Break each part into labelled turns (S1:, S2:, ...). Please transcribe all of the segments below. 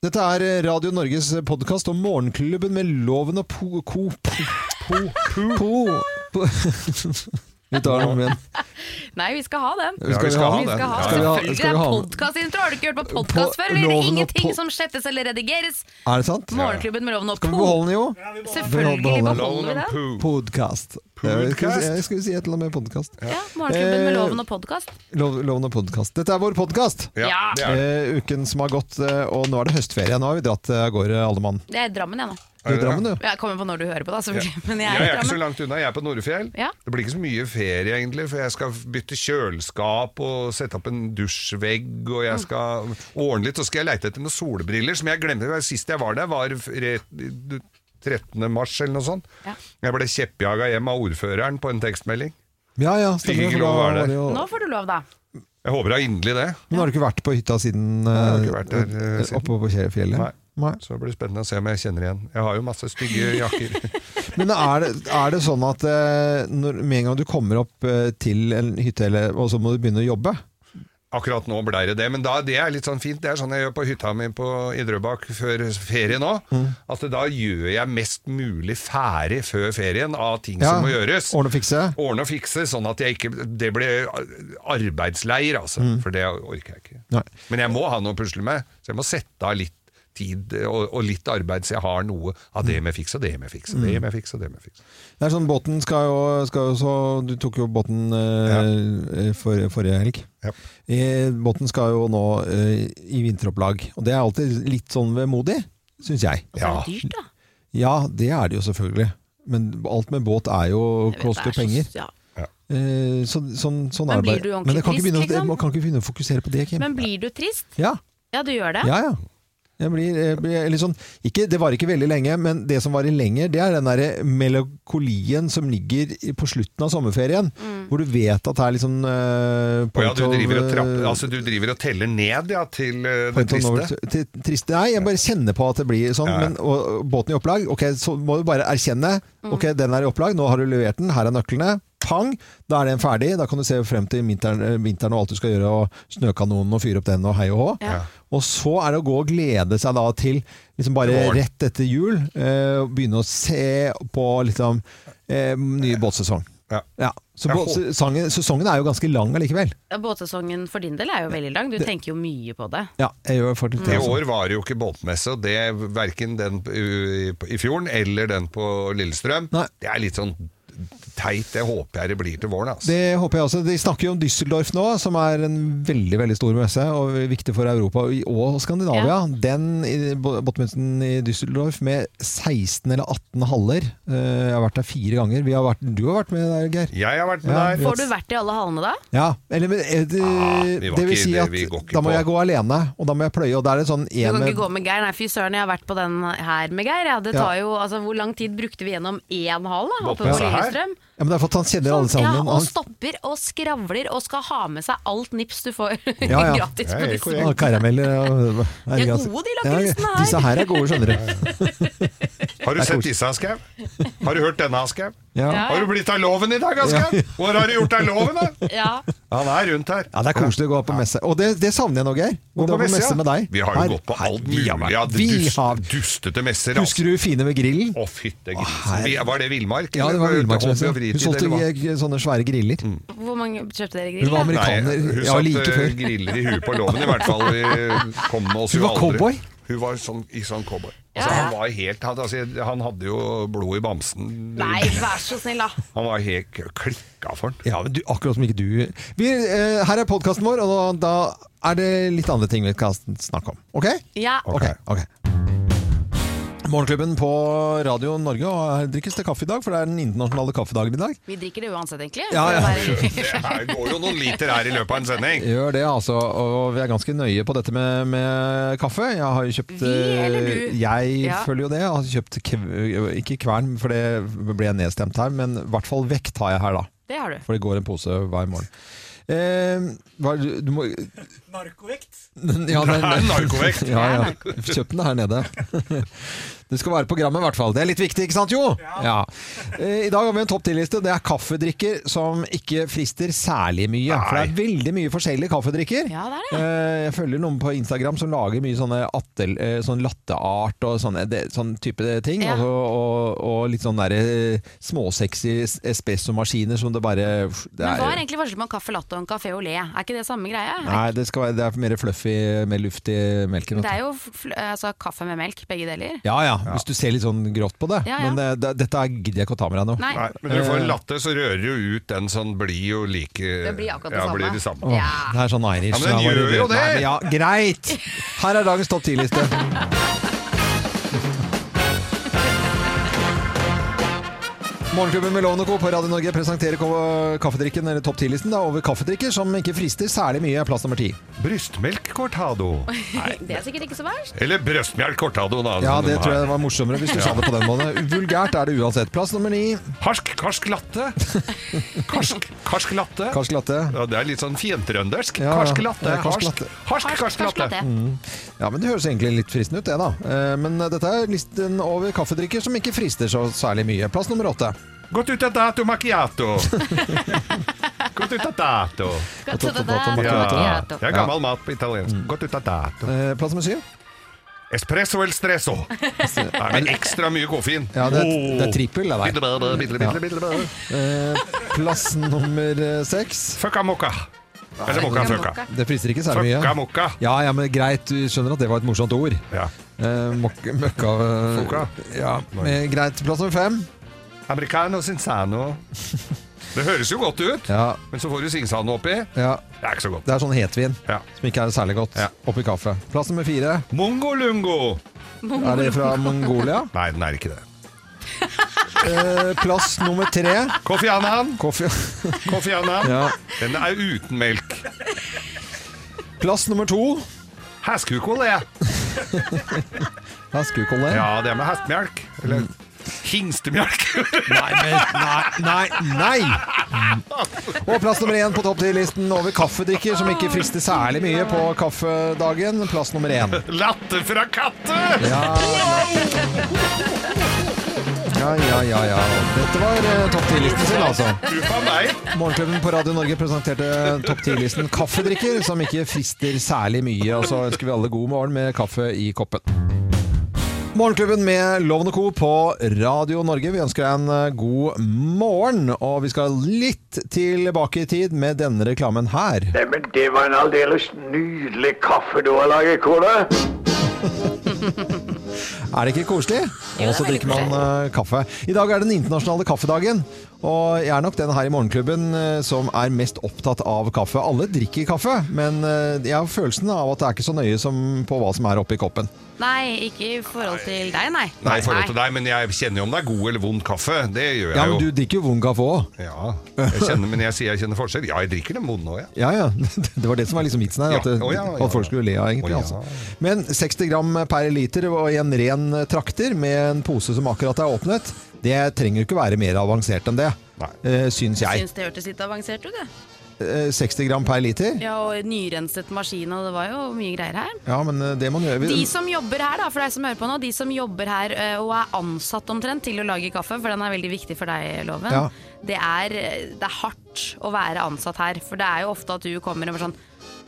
S1: Dette er Radio Norges podkast om Morgenklubben med Loven og Po... Co... Po... Po... po, po. Vi tar den om igjen.
S2: Nei, vi skal ha den.
S1: Ja, vi skal ha
S2: Vi
S1: den.
S2: skal ha,
S1: Skal vi ha-
S2: selvfølgelig.
S1: skal vi
S2: det
S1: ha
S2: er
S1: den?
S2: podkastintro! Har du ikke hørt på podkast
S1: På
S2: før? eller? Det
S1: loven og
S2: er ingenting
S1: på-
S2: som slettes eller redigeres.
S1: Er det sant?
S2: Morgenklubben med Loven og
S1: Skal vi
S2: Po.
S1: beholde den, jo?
S2: Selvfølgelig
S1: Beholde den.
S2: beholder vi den.
S1: Podkast. Jeg skulle jeg skulle si et eller annet med podkast.
S2: Ja, Morgenklubben med
S1: Eh,
S2: Loven og podkast.
S1: Lov, loven og podkast. Dette er vår podkast!
S2: Ja.
S3: det er det.
S1: Eh, uken som har gått, eh, og nå er det høstferie. Nå har vi dratt eh, av gårde, alle mann.
S2: Jeg er i Drammen, jeg nå.
S1: Du
S3: Er
S1: er i
S3: det
S1: Drammen, du.
S2: Jeg kommer på når du hører på, da, selvfølgelig. Men jeg
S3: Jeg
S2: er i
S3: er ikke så
S2: Drammen.
S3: langt unna. Jeg er på Norefjell.
S2: Ja.
S3: Det blir ikke så mye ferie, egentlig, for jeg skal bytte kjøleskap og sette opp en dusjvegg, og
S2: Mm.
S3: jeg skal ordne litt. Så skal jeg leite etter noen solbriller, som jeg glemte. Sist jeg var der, var re- 13. mars eller noe sånt.
S2: Ja.
S3: Jeg ble kjeppjaga hjem av ordføreren på en tekstmelding.
S1: Ja, ja, stemmer
S3: Fikk
S1: det,
S3: ikke
S1: for da
S3: lov å være
S1: var det
S3: der.
S1: jo...
S2: Nå får du lov, da.
S3: Jeg håper da inderlig det.
S1: Men har du ikke vært på hytta siden,
S3: har
S1: eh,
S3: ikke vært der, eh, siden.
S1: oppe på fjellet?
S3: Nei. Så det blir spennende å se om jeg kjenner igjen. Jeg har jo masse stygge jakker.
S1: Men er det, er det sånn at eh, når, med en gang du kommer opp eh, til en hytte, eller, og så må du begynne å jobbe
S3: Akkurat nå blei det det, men da, det er litt sånn fint. Det er sånn jeg gjør på hytta mi på, i Drøbak før ferie nå.
S1: Mm.
S3: At da gjør jeg mest mulig ferdig før ferien av ting som må gjøres.
S1: Ordne og fikse?
S3: Ordne og fikse, sånn at jeg ikke Det blir arbeidsleir, altså. For det orker jeg ikke.
S1: Mm. Nei.
S3: Men jeg må ha noe å pusle med, så jeg må sette av litt tid og, og litt arbeid, så jeg har noe av
S1: Mm.
S3: det med fiks og det med fiks og det med fiks og det med fiks.
S1: Det er sånn, båten skal jo, skal jo så Du tok jo båten eh, for, forrige helg.
S3: Ja.
S1: Eh, båten skal jo nå eh, i vinteropplag, og det er alltid litt sånn vemodig, syns jeg.
S2: Og så er
S3: Ja.
S2: det dyrt, da.
S1: Ja, det er det jo selvfølgelig. Men alt med båt er jo
S2: Jeg vet, det
S1: koster
S2: er så-
S1: penger.
S2: Ja.
S1: Eh, så, sånn, sånn
S2: Men
S1: er det
S2: blir du
S1: bare.
S2: ordentlig
S1: Men jeg kan ikke
S2: trist,
S1: begynne, å-
S2: liksom?
S1: jeg kan ikke begynne å fokusere på det, Kim.
S2: Men blir du trist?
S1: Ja,
S2: Ja, du gjør det?
S1: ja, ja. Jeg blir, jeg blir litt sånn, ikke, det var ikke veldig lenge, men det som var i lenger, det er den der melankolien som ligger i- på slutten av sommerferien. Hvor du vet at det er liksom eh,
S3: Og ja, du
S1: of,
S3: driver og, trapp,
S1: eh,
S3: altså, du driver og teller ned ja, til eh, det
S1: point of
S3: triste.
S1: no- til, triste. Nei, jeg bare kjenner på at det blir sånn.
S3: Ja.
S1: Men, og, og båten i opplag, ok, så må du bare erkjenne. Ok, den er i opplag, nå har du levert den, her er nøklene. Pang! Da er den ferdig. Da kan du se frem til vinteren, eh, vinteren og alt du skal gjøre, og snøkanonen og fyre opp den og hei og hå.
S2: Ja.
S1: Og så er det å gå og glede seg da til liksom bare
S3: Til våren.
S1: rett etter jul. Eh, og begynne å se på liksom eh, ny båtsesong.
S3: Ja.
S1: Ja. Så
S3: Jeg
S1: båt,
S3: håper-
S1: sesongen, sesongen er jo ganske lang allikevel.
S2: Båtsesongen for din del er jo veldig lang. Du tenker jo mye på det.
S1: Ja, jeg gjør faktisk det.
S3: I
S1: altså.
S3: år var det jo ikke båtmesse, og det verken den i, i fjorden eller den på Lillestrøm.
S1: Nei.
S3: Det er litt sånn teit. Det håper jeg det blir til våren. Altså.
S1: Det håper jeg også. De snakker jo om Düsseldorf nå, som er en veldig veldig stor messe og viktig for Europa og Skandinavia. Den i- båtmessen i Düsseldorf med 16 eller 18 haller. Eh, Jeg har vært der fire ganger. Vi har vært, du har vært med der, Geir.
S3: Jeg har vært med
S1: Ja,
S3: der.
S2: Får du vært i alle hallene da?
S1: Ja, eller men, eh, det,
S3: Ah, vi var
S1: det vil
S3: ikke-
S1: si
S3: det-
S1: at
S3: vi går ikke
S1: da må
S3: på.
S1: jeg gå alene, og da må jeg pløye. Og da er det sånn
S2: Du
S1: en
S2: kan ikke gå med Geir. Nei, fy søren, jeg har vært på den her med Geir. Ja, det
S1: Ja.
S2: tar jo, altså, hvor lang tid brukte vi gjennom én hall da, oppe på
S3: Båtmessa her?
S2: Lillestrøm?
S1: ja, men det er for at han kjenner alle
S2: ja,
S1: sammen.
S2: og
S1: Han-
S2: stopper og skravler og skal ha med seg alt nips du får
S1: Ja, ja.
S2: gratis.
S3: Ja,
S2: på
S3: jeg er
S2: disse.
S3: korrekt.
S1: Ja, karameller og altså.
S2: De er gode, de lakrisene her.
S1: Disse her er gode, skjønner du.
S3: Har du sett disse, Aschehoug? Har du hørt denne, Aschehoug?
S1: Ja.
S2: Ja.
S3: Har du blitt av loven i dag, Aschehoug? Hvor har du gjort av loven, da?
S2: Ja.
S3: Han er rundt her.
S1: Ja, Det er koselig å gå på messe. Og det, det savner jeg nå, Geir. Gå på messe,
S3: ja.
S1: med deg.
S3: Vi har jo
S1: Her-
S3: gått på
S1: her-
S3: alt
S1: vi
S3: mulig.
S1: har vært-
S3: Ja,
S1: vi
S3: dust,
S1: har,
S3: dustete messer. altså.
S1: husker du Fine med grillen?
S3: Å, fytte
S1: Å,
S3: grisen.
S1: herre-
S3: Vi- Var det villmark?
S1: Ja, det
S3: eller
S1: var
S3: det
S1: villmarksmesse.
S3: hobby og
S1: Hun
S3: fritid,
S1: solgte
S3: eller hva?
S1: eh, sånne svære griller.
S3: Mm.
S2: Hvor mange kjøpte dere
S1: Hun
S2: grill? da?
S1: var amerikaner.
S3: Nei,
S1: ja, like
S3: Hun satt eh,
S1: før.
S3: griller i huet på loven, i hvert fall. Vi kom med oss
S1: Hun
S3: jo
S1: var
S3: aldri.
S1: cowboy?
S3: Hun var sånn, i sånn cowboy.
S2: Ja,
S3: Altså,
S2: ja.
S3: han, var helt, han, altså, han hadde jo blod i bamsen.
S2: Nei, vær så snill, da.
S3: Han var helt klikka for den.
S1: Ja, men du, akkurat som ikke du vi, eh, Her er podkasten vår, og da, da er det litt andre ting vi kan snakke om. Ok?
S2: Ja.
S1: Ok. ok. Morgenklubben på Radio Norge, og her drikkes det kaffe i dag, for det er den internasjonale kaffedagen i dag.
S2: Vi drikker det uansett, egentlig.
S1: Ja, ja.
S2: Det er-
S3: Det går jo noen liter her i løpet av en sending.
S1: Gjør det, altså. Og vi er ganske nøye på dette med, med kaffe. Jeg har jo kjøpt
S2: Vi, eller du?
S1: eh, Jeg
S2: Ja.
S1: følger jo det. Jeg har kjøpt kv ikke kvern, for det ble jeg nedstemt her, men i hvert fall vekt har jeg her, da.
S2: Det har du.
S1: For det går en pose hver morgen. Eh, hva, er det- du må,
S4: Narkovekt.
S1: ja,
S3: Det er narkovekt.
S1: Ja, ja. Kjøp den her nede. Det skal være på grammet i hvert fall. Det er litt viktig, ikke sant Jo? Ja. Eh, I dag har vi en topp 10-liste. Det er kaffedrikker som ikke frister særlig mye. For det er veldig mye forskjellige kaffedrikker.
S2: Ja, det er det.
S1: Eh, Jeg følger noen på Instagram som lager mye sånne attel, eh, sånn latteart og sånne, det- sånn type ting.
S2: Ja.
S1: Og, og, og litt sånn derre småsexy espressomaskiner som det bare det
S2: Men hva er egentlig forskjellen på en caffè latte og en café olé? Er ikke det samme greie?
S1: Nei, det, skal være, det er mer fluffy, mer luft i melken. vet du.
S2: Det er jo fl- altså, kaffe med melk, begge deler.
S1: Ja, ja, hvis du ser litt sånn grått på det.
S2: Ja, ja.
S1: Men eh, det, dette er- gidder jeg ikke å ta med deg nå.
S2: Nei.
S3: Nei, men når du får en latter, så rører du ut den sånn blir jo like
S2: Det blir akkurat det
S3: ja,
S2: samme.
S3: Blir det samme.
S1: Åh,
S2: Ja.
S1: Det er sånn Irish.
S3: Ja, men den
S1: da var
S3: gjør jo det!
S1: Nei, men ja, greit! Her er dagens topp 10-liste. Morgenklubben med Loven og Co. på Radio Norge presenterer ko- kaffedrikken, eller topp 10-listen, da, over kaffedrikker som ikke frister særlig mye. Plass nummer ti.
S3: Brystmelk cortado.
S2: Det er sikkert ikke så verst.
S3: Eller brøstmelk cortado, da.
S1: Ja,
S3: som de
S1: det
S3: har.
S1: tror jeg var morsommere hvis du sa det på den måten. Vulgært er det uansett. Plass nummer ni.
S3: Harsk, karsk latte. Karsk, karsk latte.
S1: Karsk latte.
S3: Ja, det er litt sånn fiendtrøndersk.
S1: Ja, ja.
S3: karsk latte.
S1: Ja, karsk
S3: Harsk,
S1: latte.
S3: harsk,
S2: Harsk,
S3: karsk
S2: harsk
S3: latte.
S2: latte.
S1: Ja, Mm. men Det høres egentlig litt fristende ut, det da. Eh, Men dette er listen over kaffedrikker som ikke frister så særlig mye. Plass nummer åtte.
S3: Gått ut av dato macchiato. Gått ut av dato.
S2: Godt,
S1: Godt,
S2: så det der-
S1: godt, godt, godt, godt,
S3: Ja.
S2: Macchiato.
S3: Det er gammel mat på italiensk.
S1: Mm.
S3: Gått ut av dato.
S1: Eh, Plass nummer syv.
S3: Espresso el stresso. Nei, men ekstra mye koffein.
S1: Altså, Ja, det er,
S3: Åh.
S1: det er trippel, det
S3: Bitte,
S1: der.
S3: bitte, bitte, bitte, bitte, bitte.
S1: Eh, Plass nummer eh, seks.
S3: Fucka mokka. Eller mokka fucka.
S1: Det frister ikke særlig
S3: Fucka
S1: mye.
S3: mokka.
S1: Ja, ja, men greit, du skjønner at det var et morsomt ord.
S3: Ja.
S1: Eh, mok møkka eh,
S3: Fuka.
S1: Ja, eh, greit. Plass nummer fem.
S3: Americano sinsano. Det høres jo godt ut,
S1: Ja,
S3: men så får du sinsano oppi. Det
S1: ja,
S3: er ikke så godt.
S1: det er sånn hetvin
S3: Ja.
S1: som ikke er særlig godt
S3: Ja.
S1: oppi kaffe. Plass nummer fire.
S3: Mongolungo!
S1: Er det fra Mongolia?
S3: Nei, den er ikke det.
S1: Eh, plass nummer tre.
S3: Kofi Annan!
S1: Koffe.
S3: Kofi Annan.
S1: Ja.
S3: Den er uten melk.
S1: Plass nummer to.
S3: Hestekukål, det.
S1: Her skulle ikke holde.
S3: Ja, det er med hestemelk. Eller hingstemjelk.
S1: Nei, men, nei, nei, nei! Og plass nummer én på topp 10-listen over kaffedrikker som ikke frister særlig mye på kaffedagen. Plass nummer én.
S3: Latte fra katte!
S1: Ja, ja, ja. ja, ja. Dette var eh, topp 10-listen sin, altså.
S3: Uffa meg.
S1: Morgenklubben på Radio Norge presenterte topp 10-listen kaffedrikker som ikke frister særlig mye. Og så ønsker vi alle god morgen med kaffe i koppen. Morgenklubben med Loven og Co. på Radio Norge. Vi ønsker deg en eh, god morgen. Og vi skal litt tilbake i tid med denne reklamen her.
S5: Neimen, det var en aldeles nydelig kaffe du har laget, kone.
S1: Er det ikke koselig? Og så drikker man eh, kaffe. I dag er den internasjonale kaffedagen. Og jeg er nok den her i morgenklubben eh, som er mest opptatt av kaffe. Alle drikker kaffe, men eh, jeg har følelsen av at det er ikke så nøye som på hva som er oppi koppen.
S2: Nei, ikke i forhold til deg, nei.
S3: Nei, i forhold til deg, men jeg kjenner jo om det er god eller vond kaffe. Det gjør
S1: Ja,
S3: jeg
S1: men
S3: jo.
S1: du drikker jo vond kaffe òg.
S3: Ja, jeg kjenner, men jeg sier jeg kjenner forskjell. Ja, jeg drikker den vonde òg, jeg.
S1: Ja, ja. Det var det som var liksom vitsen her. At,
S3: Ja.
S1: det-
S3: Å, ja, ja,
S1: at folk
S3: ja.
S1: skulle le av, egentlig.
S3: Å, ja.
S1: Altså. Men 60 gram per liter og i en ren eh, trakter med en pose som akkurat er åpnet, det trenger jo ikke være mer avansert enn det.
S3: Nei.
S1: eh, Syns jeg.
S2: Syns det hørtes litt avansert ut, jeg.
S1: Eh, 60 gram per liter?
S2: Ja, og nyrenset maskin, og det var jo mye greier her.
S1: Ja, men eh, det man gjør
S2: De som jobber her, da, for deg som hører på nå, de som jobber her eh, og er ansatt omtrent til å lage kaffe, for den er veldig viktig for deg, Loven,
S1: Ja.
S2: det, er, eh, det er hardt å være ansatt her. For det er jo ofte at du kommer og bare sånn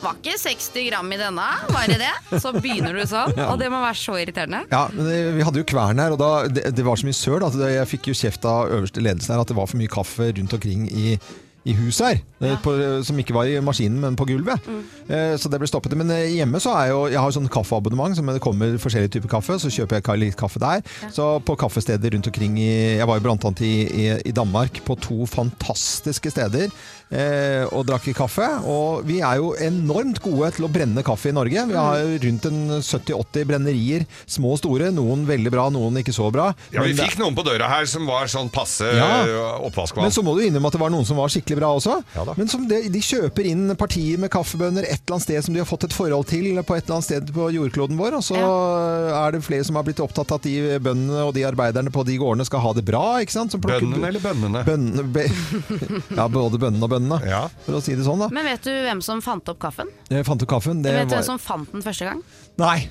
S2: Var ikke 60 gram i denne, var det det? Så begynner du sånn, og det må være så irriterende.
S1: Ja, men eh, Vi hadde jo kvern her, og da, det, det var så mye søl at det- jeg fikk jo kjeft av øverste ledelsen her at det var for mye kaffe rundt omkring i, i huset her. eh, På, som ikke var i maskinen, men på gulvet. Eh, så det ble stoppet. Men eh, hjemme så er jo Jeg har jo sånn kaffeabonnement, så det kommer forskjellige typer kaffe. Så kjøper jeg ka- litt kaffe der. Så på kaffesteder rundt omkring i Jeg var jo blant annet i, i, i Danmark, på to fantastiske steder. Eh, og drakk kaffe. Og vi er jo enormt gode til å brenne kaffe i Norge. Vi har jo rundt en 70-80 brennerier. Små og store. Noen veldig bra, noen ikke så bra.
S3: Ja, Vi
S1: Men det-
S3: fikk noen på døra her som var sånn passe
S1: Ja.
S3: øh, oppvaskvann.
S1: men så må du innrømme at det var noen som var virkelig bra også.
S4: Ja da.
S1: Men som de, de kjøper inn partier med kaffebønner et eller annet sted som de har fått et forhold til på et eller annet sted på jordkloden vår. Og så er det flere som har blitt opptatt av at de bøndene og de arbeiderne på de gårdene skal ha det bra. ikke sant? Som plukker-
S3: Bøndene eller bønnene?
S1: Bøndene, be, ja, både bøndene og bøndene,
S3: Ja.
S1: for å si det sånn. da.
S2: Men vet du hvem som fant opp kaffen?
S1: Jeg fant jo kaffen. Det
S2: Vet du
S1: var...
S2: hvem som fant den første gang?
S1: Nei!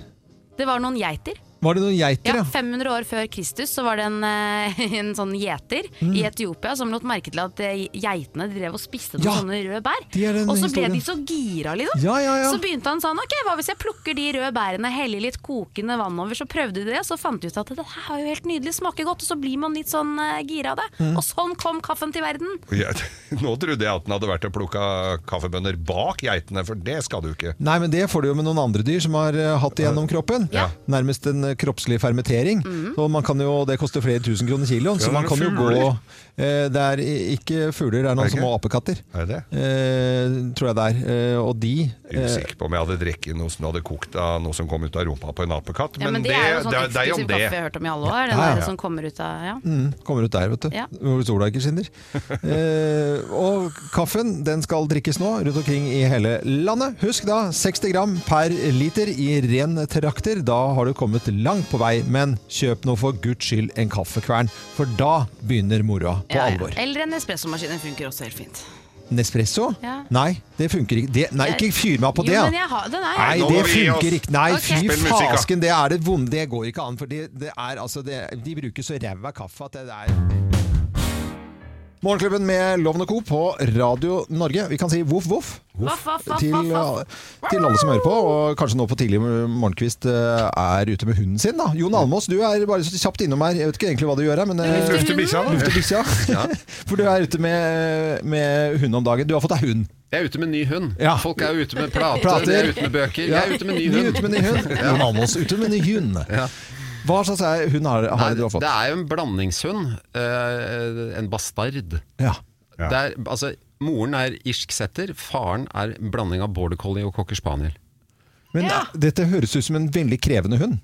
S2: Det var noen geiter.
S1: Var det noen geiter,
S2: Ja,
S1: ja?
S2: 500 år før Kristus så var det en, eh, en sånn gjeter
S1: Mm.
S2: i Etiopia som lot merke til at eh, geitene drev og spiste noen
S1: Ja,
S2: sånne røde bær.
S1: det er den
S2: Og så ble
S1: historien.
S2: de så gira, liksom.
S1: Ja, ja, ja.
S2: Så begynte han sånn Ok, hva hvis jeg plukker de røde bærene, heller litt kokende vann over, så prøvde de det, så fant de ut at det her er jo helt nydelig, smaker godt, og så blir man litt sånn eh, gira av det.
S1: Mm.
S2: Og sånn kom kaffen til verden.
S3: Ja, nå trodde jeg at den hadde vært og plukka kaffebønner bak geitene, for det skal du ikke.
S1: Nei, men det får du jo med noen andre dyr som har eh, hatt det gjennom kroppen.
S3: Ja. Mhm.
S1: Nærmest en eh, kroppslig fermentering. Så man kan jo, Det koster flere tusen kroner kiloen, så
S3: Ja,
S1: man
S3: det er
S1: kan jo gå
S3: fugler.
S1: eh, Det er i- ikke fugler, det er
S3: Er
S1: noen
S3: det
S1: små
S3: ikke?
S1: apekatter.
S3: Er det?
S1: Eh, tror jeg det er. Eh, og de
S3: Jeg er
S1: eh,
S3: usikker på om jeg hadde drukket noe som hadde kokt av noe som kom ut av rumpa på en apekatt,
S2: Ja,
S3: men,
S2: men det,
S3: det,
S2: er jo sånn
S3: det, det er jo
S2: eksklusiv
S3: om det.
S2: kaffe jeg har hørt om i alle år. Den
S1: Ja, ja.
S2: der som kommer ut av ja.
S1: mm, kommer ut der, vet du.
S2: Ja.
S1: Hvor sola ikke skinner. Eh, og kaffen den skal drikkes nå rundt omkring i hele landet. Husk da 60 gram per liter i ren trakter. Da har du kommet langt på vei. Men kjøp nå for guds skyld en kaffekvern, for da begynner moroa på
S2: Ja, ja.
S1: alvor.
S2: Eller en espressomaskin. Den funker også helt fint.
S1: Nespresso?
S2: Ja.
S1: Nei, det funker ikke. Det, nei, ikke fyr meg opp på
S2: jo,
S1: det. da.
S2: Men jeg har, den er,
S1: Nei,
S3: nå
S1: det
S3: må vi gi
S1: funker
S3: oss.
S1: ikke. Nei,
S2: Ok.
S1: fy
S3: Spill musikk, da.
S1: fasken, det er det vonde. Det går ikke an. For det, det er, altså, det, de bruker så ræva kaffe at det er Morgenklubben med Loven og Co. på Radio Norge. Vi kan si voff, voff.
S2: Voff, voff, voff,
S1: Til, eh,
S2: voff, voff.
S1: til alle som hører på, og kanskje nå på tidlig morgenkvist eh, er ute med hunden sin. da. Jon Almås, du er bare så kjapt innom her. Jeg vet ikke egentlig hva du gjør her, men eh,
S2: lufter
S3: Lufte bikkja, da.
S1: lufter bikkja. For du er ute med, med hund om dagen. Du har fått deg hund.
S6: Jeg er ute med ny hund.
S1: Ja.
S6: Folk er ute med plater,
S1: Plater.
S6: de er ute med bøker. Jeg er ute med ny
S1: Vi er
S6: hund.
S1: ute med ny hund. Jon Almås, ute med ny hund. Hva slags er- hund har, har
S6: Nei,
S1: du har fått?
S6: det er jo en blandingshund. eh, en bastard.
S1: Ja.
S6: Det er, altså, moren er irsk setter, faren er en blanding av border collie og cocker spaniel.
S1: Men
S2: Ja.
S1: eh, dette høres ut som en veldig krevende hund.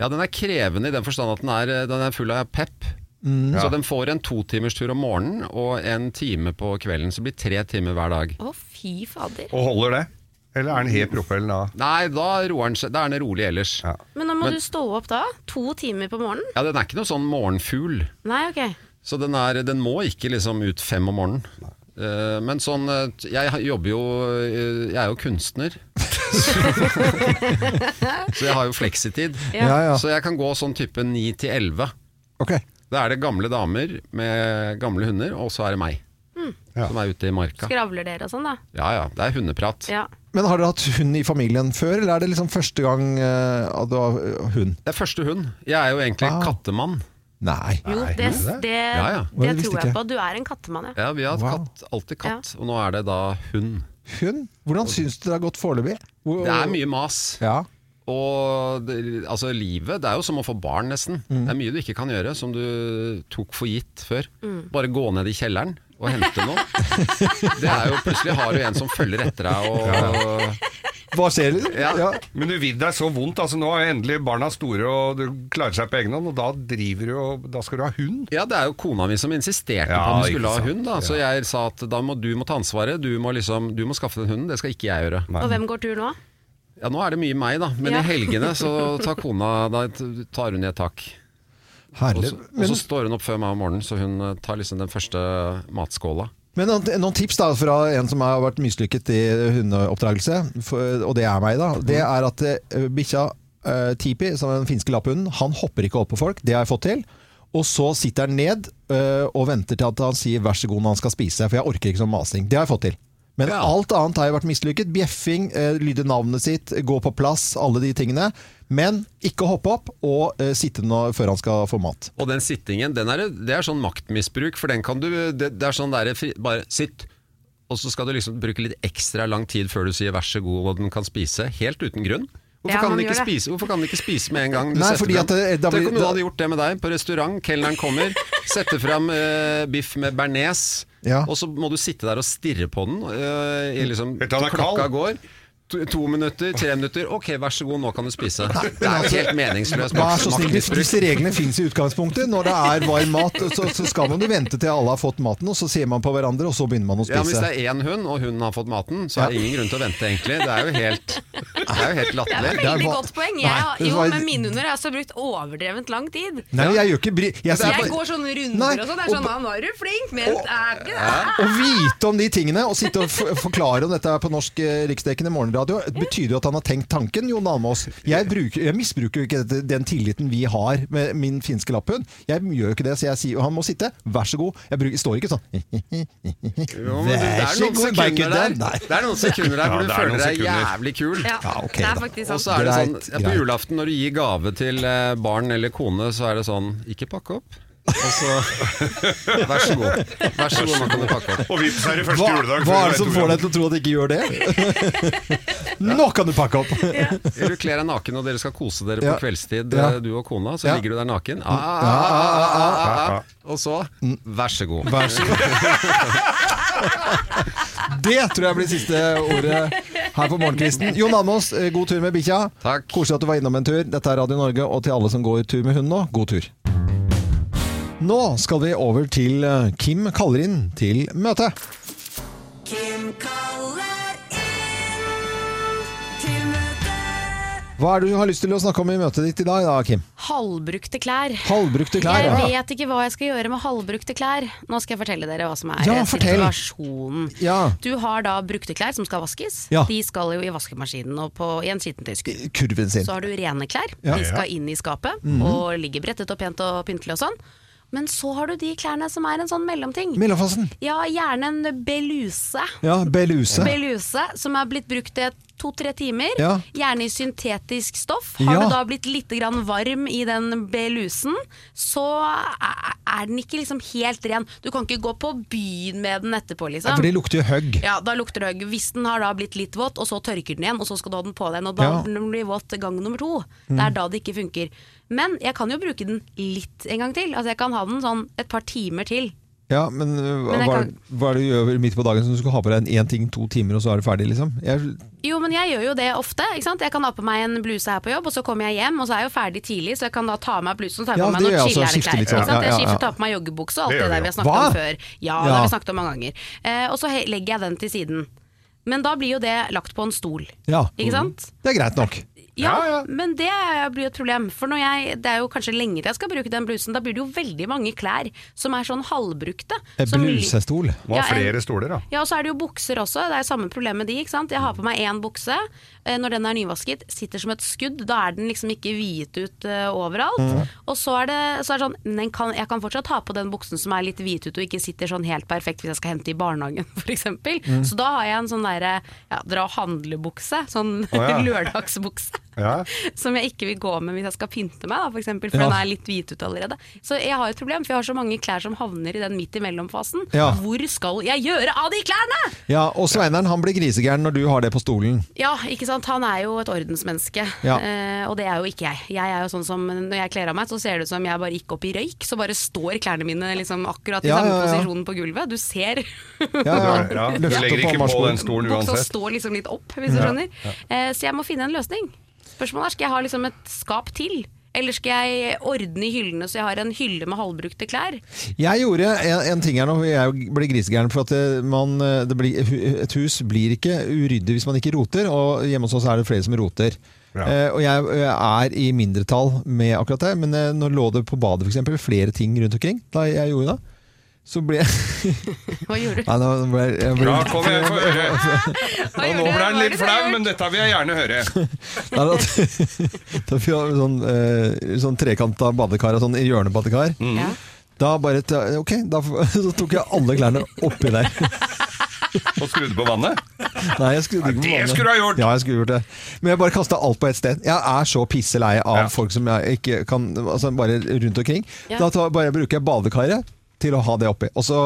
S6: Ja, den er krevende i den forstand at den er, eh, den er full av pep.
S1: Mm.
S6: Så den får en totimerstur om morgenen og en time på kvelden. Så det blir tre timer hver dag.
S2: Å, fy fader.
S3: Og holder det? Eller er den helt propellen av?
S6: Nei, da roer den seg. Da er den rolig ellers.
S3: Ja.
S2: Men nå må
S6: Men-
S2: du stå opp da? To timer på morgenen?
S6: Ja, den er ikke noe sånn morgenfugl.
S2: Nei, ok.
S6: Så den, er, den må ikke liksom ut fem om morgenen. Eh, men sånn eh, Jeg jobber jo eh, Jeg er jo kunstner. så jeg har jo fleksitid.
S2: Ja.
S1: Ja, ja.
S6: Så jeg kan gå sånn type ni til elleve.
S1: Ok.
S6: Da er det gamle damer med gamle hunder, og så er det meg. Som er ute i marka.
S2: Skravler dere og sånn, da?
S6: Ja ja, det er hundeprat.
S2: Ja.
S1: Men har dere hatt hund i familien før, eller er det liksom første gang eh, at du har eh, hund?
S6: Det er første hund. Jeg er jo egentlig
S1: Wow.
S6: kattemann.
S1: Nei.
S2: Jo, det, det, det,
S6: Ja, ja.
S1: Oi, det visste
S2: tror
S1: ikke jeg.
S2: jeg på. Du er en kattemann, ja.
S6: Ja, vi har hatt
S1: Wow.
S6: katt, alltid katt, og nå er det da hund.
S1: Hund? Hvordan syns du det har gått foreløpig? Hvor-
S6: Det er mye mas.
S1: Ja.
S6: Og det, altså, livet det er jo som å få barn, nesten.
S3: Mm.
S6: Det er mye du ikke kan gjøre som du tok for gitt før. Bare gå ned i kjelleren og hente noe. det er jo Plutselig har du en som følger etter deg. Og,
S1: Hva skjer, liksom?
S6: Ja.
S3: Men du vil deg så vondt. altså Nå er endelig barna store og du klarer seg på egen hånd, og da driver du og Da skal du ha hund.
S6: ja, det er jo kona mi som insisterte
S3: Ja,
S6: på at vi
S3: ikke
S6: skulle ha
S3: sant.
S6: hund. Da. Så jeg sa at da må du må ta ansvaret. Du må, liksom, du må skaffe den hunden, det skal ikke jeg gjøre.
S2: Og hvem går tur nå?
S6: Ja, Nå er det mye meg, da. Men
S2: Ja.
S6: i helgene så tar kona Da tar hun i et tak. Og
S1: Herlig.
S6: så, og
S1: Men,
S6: så står hun opp før meg om morgenen, så hun eh, tar liksom den første matskåla.
S1: men noen, noen tips da fra en som har vært mislykket i hundeoppdragelse, for, og det er meg, da. Det er at eh, bikkja eh, Tipi, som er den finske lapphunden, han hopper ikke opp på folk. Det har jeg fått til. Og så sitter han ned eh, og venter til at han sier 'vær så god' når han skal spise, for jeg orker ikke sånn masing. Det har jeg fått til. Men
S6: Ja.
S1: alt annet har jo vært mislykket. Bjeffing, eh, lyde navnet sitt, gå på plass, alle de tingene. Men ikke hoppe opp og eh, sitte nå før han skal få mat.
S6: Og den sittingen, den er, det er sånn maktmisbruk, for den kan du Det, det er sånn der, fri- bare sitt, og så skal du liksom bruke litt ekstra lang tid før du sier vær så god og den kan spise, helt uten grunn. Hvorfor,
S2: Ja,
S6: kan
S2: man
S6: den ikke
S2: gjør det.
S6: spise, hvorfor kan den ikke spise med en gang? du
S1: Nei,
S6: setter
S1: fordi
S6: frem?
S1: at det- da blir-
S6: Tenk om noen
S1: da-
S6: hadde gjort det med deg på restaurant, kelneren kommer, setter fram eh, biff med bearnés,
S1: Ja.
S6: og så må du sitte der og stirre på den eh, i liksom,
S3: Helt til han er
S6: klokka
S3: kald.
S6: går. to, to minutter, tre minutter, ok, vær så god, nå kan du spise. Det er jo helt meningsløst
S1: altså, Vær så snill, hvis
S6: maktmisbruk.
S1: disse reglene fins i utgangspunktet. Når det er varm mat, så, så skal man jo vente til alle har fått maten, og så ser man på hverandre, og så begynner man å
S6: Ja, men Hvis
S1: spise.
S6: det er én hund, og hunden har fått maten, så er det ingen grunn til å vente, egentlig. Det er jo helt, det er jo
S2: Det er
S6: helt
S2: et
S6: latterlig.
S1: Det
S2: veldig
S1: er va-
S2: godt poeng.
S1: Nei,
S2: Jeg, har-
S1: det
S2: jo,
S1: var-
S2: men mine hunder har også brukt overdrevent lang tid.
S1: Nei, jeg gjør ikke bry... Jeg,
S6: Det er
S2: Jeg
S6: på-
S2: går sånne runder
S1: Nei,
S2: og sånn. Det er
S1: og
S2: sånn,
S1: på-
S2: ja, nå er du flink, men det er ikke det.
S1: Å vite om de tingene og sitte og f- forklare om dette er på norsk eh, riksdekkende morgenradio, betyder jo at han har tenkt tanken, Jon Almaas. Jeg, bruker- jeg misbruker jo ikke dette, den tilliten vi har med min finske lapphund. Jeg gjør jo ikke det, så jeg sier han må sitte. Vær så god. Jeg bruker, står ikke sånn.
S6: Jo, men det er noen sekunder der
S1: Nei.
S6: Det er noen sekunder der hvor
S3: Ja,
S6: du
S3: det er
S6: føler
S3: noen
S6: deg
S3: sekunder.
S6: jævlig kul.
S2: Ja,
S1: Ja, ok
S2: det er
S1: da.
S2: faktisk altså.
S6: Og
S2: sant.
S6: så er det sånn,
S1: Greit,
S6: ja, På
S1: greit.
S6: julaften når du gir gave til eh, barn eller kone, så er det sånn Ikke pakke opp. Og så Vær så god. Vær så god, nå kan du pakke opp.
S3: Og vips er det første
S1: Hva,
S3: juledag.
S1: hva er det som får deg til å tro at de ikke gjør det? Nå kan du pakke opp!
S6: Eller du kler deg naken, og dere skal kose dere på
S1: Ja.
S6: kveldstid,
S1: Ja.
S6: eh, du og kona. Så
S1: Ja.
S6: ligger du der naken. Ah, ah, ah, ah, ah, ah, ah. Og så Vær så god.
S1: Mm. Vær så god. Det tror jeg blir siste ordet her på morgenkvisten. Jon Almaas, eh, god tur med bikkja.
S6: Takk.
S1: Koselig at du var innom en tur. Dette er Radio Norge, og til alle som går tur med hund nå, god tur. Nå skal vi over til eh, Kim kaller inn til møte. Hva er det du har lyst til å snakke om i møtet ditt i dag, da, Kim?
S2: Halvbrukte klær.
S1: Halvbrukte klær.
S2: Jeg
S1: ja.
S2: vet ikke hva jeg skal gjøre med halvbrukte klær. Nå skal jeg fortelle dere hva som er
S1: Ja,
S2: eh,
S1: fortell.
S2: situasjonen.
S1: Ja.
S2: Du har da brukte klær som skal vaskes.
S1: Ja.
S2: De skal jo i vaskemaskinen og på, i en skittentøyskur.
S1: Kurven sin.
S2: Så har du rene klær.
S1: Ja. Mhm.
S2: De skal inn i skapet og ligger brettet og pent og pyntelig og sånn. Men så har du de klærne som er en sånn mellomting.
S1: Mellomfasen.
S2: Ja, gjerne en beluse.
S1: Ja, beluse.
S2: Beluse som er blitt brukt i to-tre timer.
S1: Ja.
S2: Gjerne i syntetisk stoff. Har
S1: Ja.
S2: du da blitt litt grann varm i den belusen, så er er den ikke liksom helt ren. Du kan ikke gå på byen med den etterpå, liksom.
S1: For det lukter jo høgg.
S2: Ja, da lukter det høgg. Hvis den har da blitt litt våt, og så tørker den igjen, og så skal du ha den på deg, og da
S1: Ja. Mm.
S2: blir den blir våt gang nummer to. Det er da det ikke funker. Men jeg kan jo bruke den litt en gang til. Altså jeg kan ha den sånn et par timer til.
S1: Ja, men, øh,
S2: Men jeg
S1: hva,
S2: kan-
S1: hva er det du gjør midt på dagen som du skal ha på deg en én ting to timer, og så er du ferdig, liksom? Jeg,
S2: Jo, men jeg gjør jo det ofte. ikke sant? Jeg kan ha på meg en bluse her på jobb, og så kommer jeg hjem, og så er jeg jo ferdig tidlig, så jeg kan da ta av meg blusen og ta
S1: Ja,
S2: på meg
S1: det
S2: noen
S1: gjør jeg også.
S2: chillere
S1: Skifte
S2: klær.
S1: litt
S2: ikke
S1: sånn.
S2: sant?
S1: Ja, ja,
S2: Jeg
S1: ja.
S2: skifter, tar på meg joggebukse og alt
S3: Det gjør
S2: det,
S3: vi
S2: der vi har
S1: jo.
S2: snakket om
S1: Hva?
S2: før. Ja,
S1: Ja.
S2: det har vi snakket om mange ganger. Eh, og så he- legger jeg den til siden. Men da blir jo det lagt på en stol.
S1: ja. Mm.
S2: Ikke sant?
S1: Det er greit nok.
S2: Ja,
S3: Ja, ja.
S2: men det blir jo et problem. For når jeg, det er jo kanskje lenge til jeg skal bruke den blusen. Da blir det jo veldig mange klær som er sånn halvbrukte.
S1: En
S2: som-
S1: blusestol.
S3: Må ha
S2: Ja, en-
S3: flere stoler, da.
S2: Ja, og så er det jo bukser også. Det er jo samme problem med de. ikke sant? Jeg har på meg én bukse. eh, Når den er nyvasket, sitter som et skudd. Da er den liksom ikke hviet ut eh, overalt.
S3: Mm.
S2: Og så er det, så er det sånn men den kan, Jeg kan fortsatt ha på den buksen som er litt hvit ut og ikke sitter sånn helt perfekt hvis jeg skal hente i barnehagen f.eks.
S3: Mm.
S2: Så da har jeg en sånn derre ja, dra og handle-bukse. Sånn
S3: ja.
S2: lørdagsbukse
S3: Ja.
S2: som jeg ikke vil gå med hvis jeg skal pynte meg, da, for, eksempel, for
S1: Ja.
S2: den er litt hvit ut allerede. Så jeg har et problem, for jeg har så mange klær som havner i den midt imellom-fasen.
S1: Ja.
S2: Hvor skal jeg gjøre av de klærne?!
S1: Ja, og Sveineren han blir grisegæren når du har det på stolen.
S2: Ja, ikke sant. Han er jo et ordensmenneske,
S1: Ja.
S2: eh, og det er jo ikke jeg. Jeg er jo sånn som Når jeg kler av meg, så ser det ut som jeg bare gikk opp i røyk. Så bare står klærne mine liksom akkurat i
S1: Ja,
S2: samme
S1: ja, ja.
S2: posisjonen på gulvet. Du ser
S1: Ja,
S3: Ja, du legger ikke på den stolen
S2: Buksa
S3: uansett.
S2: står liksom litt opp, hvis du skjønner. Eh, så jeg må finne en løsning. Spørsmålet er, skal jeg ha liksom et skap til? Eller skal jeg ordne i hyllene så jeg har en hylle med halvbrukte klær?
S1: Jeg gjorde en, en ting her nå, for jeg ble grisegæren for at det, man, eh, det blir, et hus blir ikke uryddig hvis man ikke roter, og hjemme hos oss er det flere som roter.
S3: Ja.
S1: Eh, og jeg eh, er i mindretall med akkurat det, men eh, nå lå det på badet for eksempel flere ting rundt omkring da jeg gjorde det. Så ble
S2: Hva gjorde du?
S1: Nei, nå ble jeg, jeg ble
S3: Ja, kom igjen, få høre.
S2: Hva
S3: Og nå
S2: gjorde du?
S3: ble han litt
S2: Hva var det
S3: flau,
S2: du gjorde?
S3: men dette vil jeg gjerne høre.
S1: Nei, da, da fikk jeg sånn, eh, sånn trekanta badekar, sånn hjørnebadekar.
S3: Mm.
S2: Ja.
S1: Da bare ta- Ok, da, f- så tok jeg alle klærne oppi der.
S3: Og skrudde på vannet.
S1: Nei, jeg skrudde
S3: Nei,
S1: ikke på
S3: det
S1: vannet.
S3: skulle du ha gjort!
S1: Ja, jeg skulle gjort det. Men jeg bare kasta alt på ett sted. Jeg er så pisselei av
S3: Ja.
S1: folk som jeg ikke kan altså Bare rundt omkring.
S2: Ja.
S1: Da tar, bare bruker jeg badekaret til å ha det oppi. Og så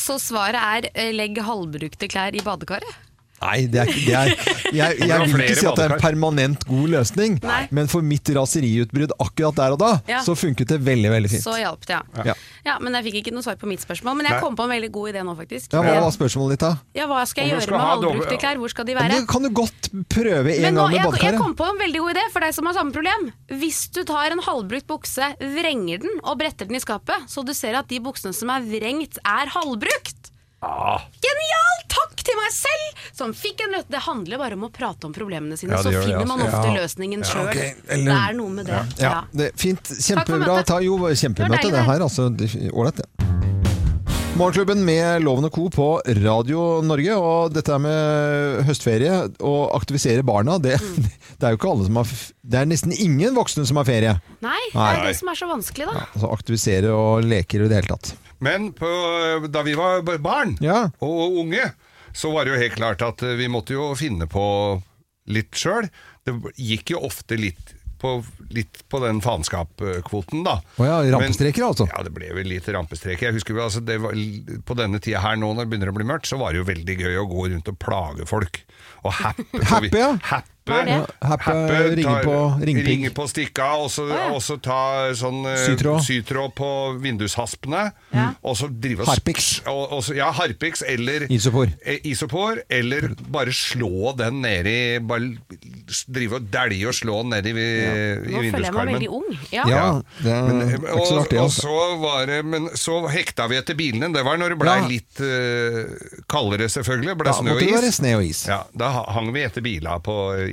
S2: Så svaret er eh, legg halvbrukte klær i badekaret?
S1: Nei, det er, ikke- det er, jeg,
S3: Det var
S1: jeg vil
S3: flere
S1: ikke si at det er en
S3: badekar.
S1: permanent god løsning,
S2: Nei.
S1: men for mitt raseriutbrudd akkurat der og da,
S2: Ja.
S1: så funket det veldig, veldig fint.
S2: Så hjalp det, ja.
S1: Ja.
S2: ja. Men jeg fikk ikke noe svar på mitt spørsmål. Men jeg
S3: Nei.
S2: kom på en veldig god idé nå, faktisk.
S1: Ja, hva var spørsmålet ditt da?
S2: Ja, hva skal
S3: Om
S2: jeg
S3: du
S2: gjøre
S3: skal
S2: med
S3: ha dobbel-
S2: halvbrukte klær? Hvor skal de
S1: Men
S2: være?
S1: det kan du godt prøve en
S2: Men nå,
S1: gang med
S2: jeg, jeg
S1: badekaret.
S2: kom på en veldig god idé for deg som har samme problem. Hvis du tar en halvbrukt bukse, vrenger den og bretter den i skapet, så du ser at de buksene som er vrengt, er halvbrukt. Genialt! Takk til meg selv som fikk en løsning. Det handler bare om å prate om problemene sine,
S3: Ja, det
S2: så
S3: gjør det,
S2: finner man
S3: altså.
S2: ofte
S1: Ja.
S2: løsningen sjøl.
S1: ok, eller-
S2: Det er noe med det.
S1: Ja,
S2: Ja.
S1: det er fint.
S2: for
S1: Kjempebra.
S2: møtet.
S1: Ta, jo, kjempemøte
S2: Det var deilig,
S1: det
S2: det.
S1: her. Altså, det- ålreit, det. Morgenklubben med Loven og Co. på Radio Norge. Og dette er med høstferie og aktivisere barna. Det,
S2: Mm.
S1: det er jo ikke alle som har f- Det er nesten ingen voksne som har ferie.
S2: Nei, det
S1: Nei.
S2: er det som er så vanskelig, da.
S1: Altså aktivisere og leker i det hele tatt.
S3: Men på, da vi var b- barn
S1: Ja.
S3: og unge, så var det jo helt klart at eh, vi måtte jo finne på litt sjøl. Det gikk jo ofte litt på, litt på den faenskapskvoten, da.
S1: Å ja,
S3: Men-
S1: rampestreker, altså.
S3: Ja, det ble vel litt rampestreker. Jeg husker jo, altså, det var, På denne tida her nå, når det begynner å bli mørkt, så var det jo veldig gøy å gå rundt og plage folk. Og happe. for vi-
S1: Happe, ja.
S3: Happe,
S2: Hva er det?
S3: ja,
S1: happe, ringe på- ringpigg.
S3: ringe på stikka, og så,
S2: ja.
S3: og så ta sånn eh,
S1: Sytråd.
S3: sytråd på vindushaspene. Og så drive og
S1: Harpiks.
S3: Og, og så, ja, harpiks eller
S1: Isopor.
S3: eh, isopor, eller bare slå den ned i Bare s- drive og dælje og slå den ned i, i
S2: Nå føler jeg meg
S3: vinduskarmen.
S2: veldig ung. Ja.
S1: Ja, Mm, det er ikke så
S3: eh, og,
S1: artig.
S3: og
S1: Altså.
S3: så var det, men så hekta vi etter bilene. Det var når det blei
S1: Ja.
S3: litt eh, kaldere, selvfølgelig. Ble
S1: Da
S3: snø
S1: måtte
S3: og
S1: det være
S3: is.
S1: sne og is.
S3: Ja, da ha- hang vi etter bila på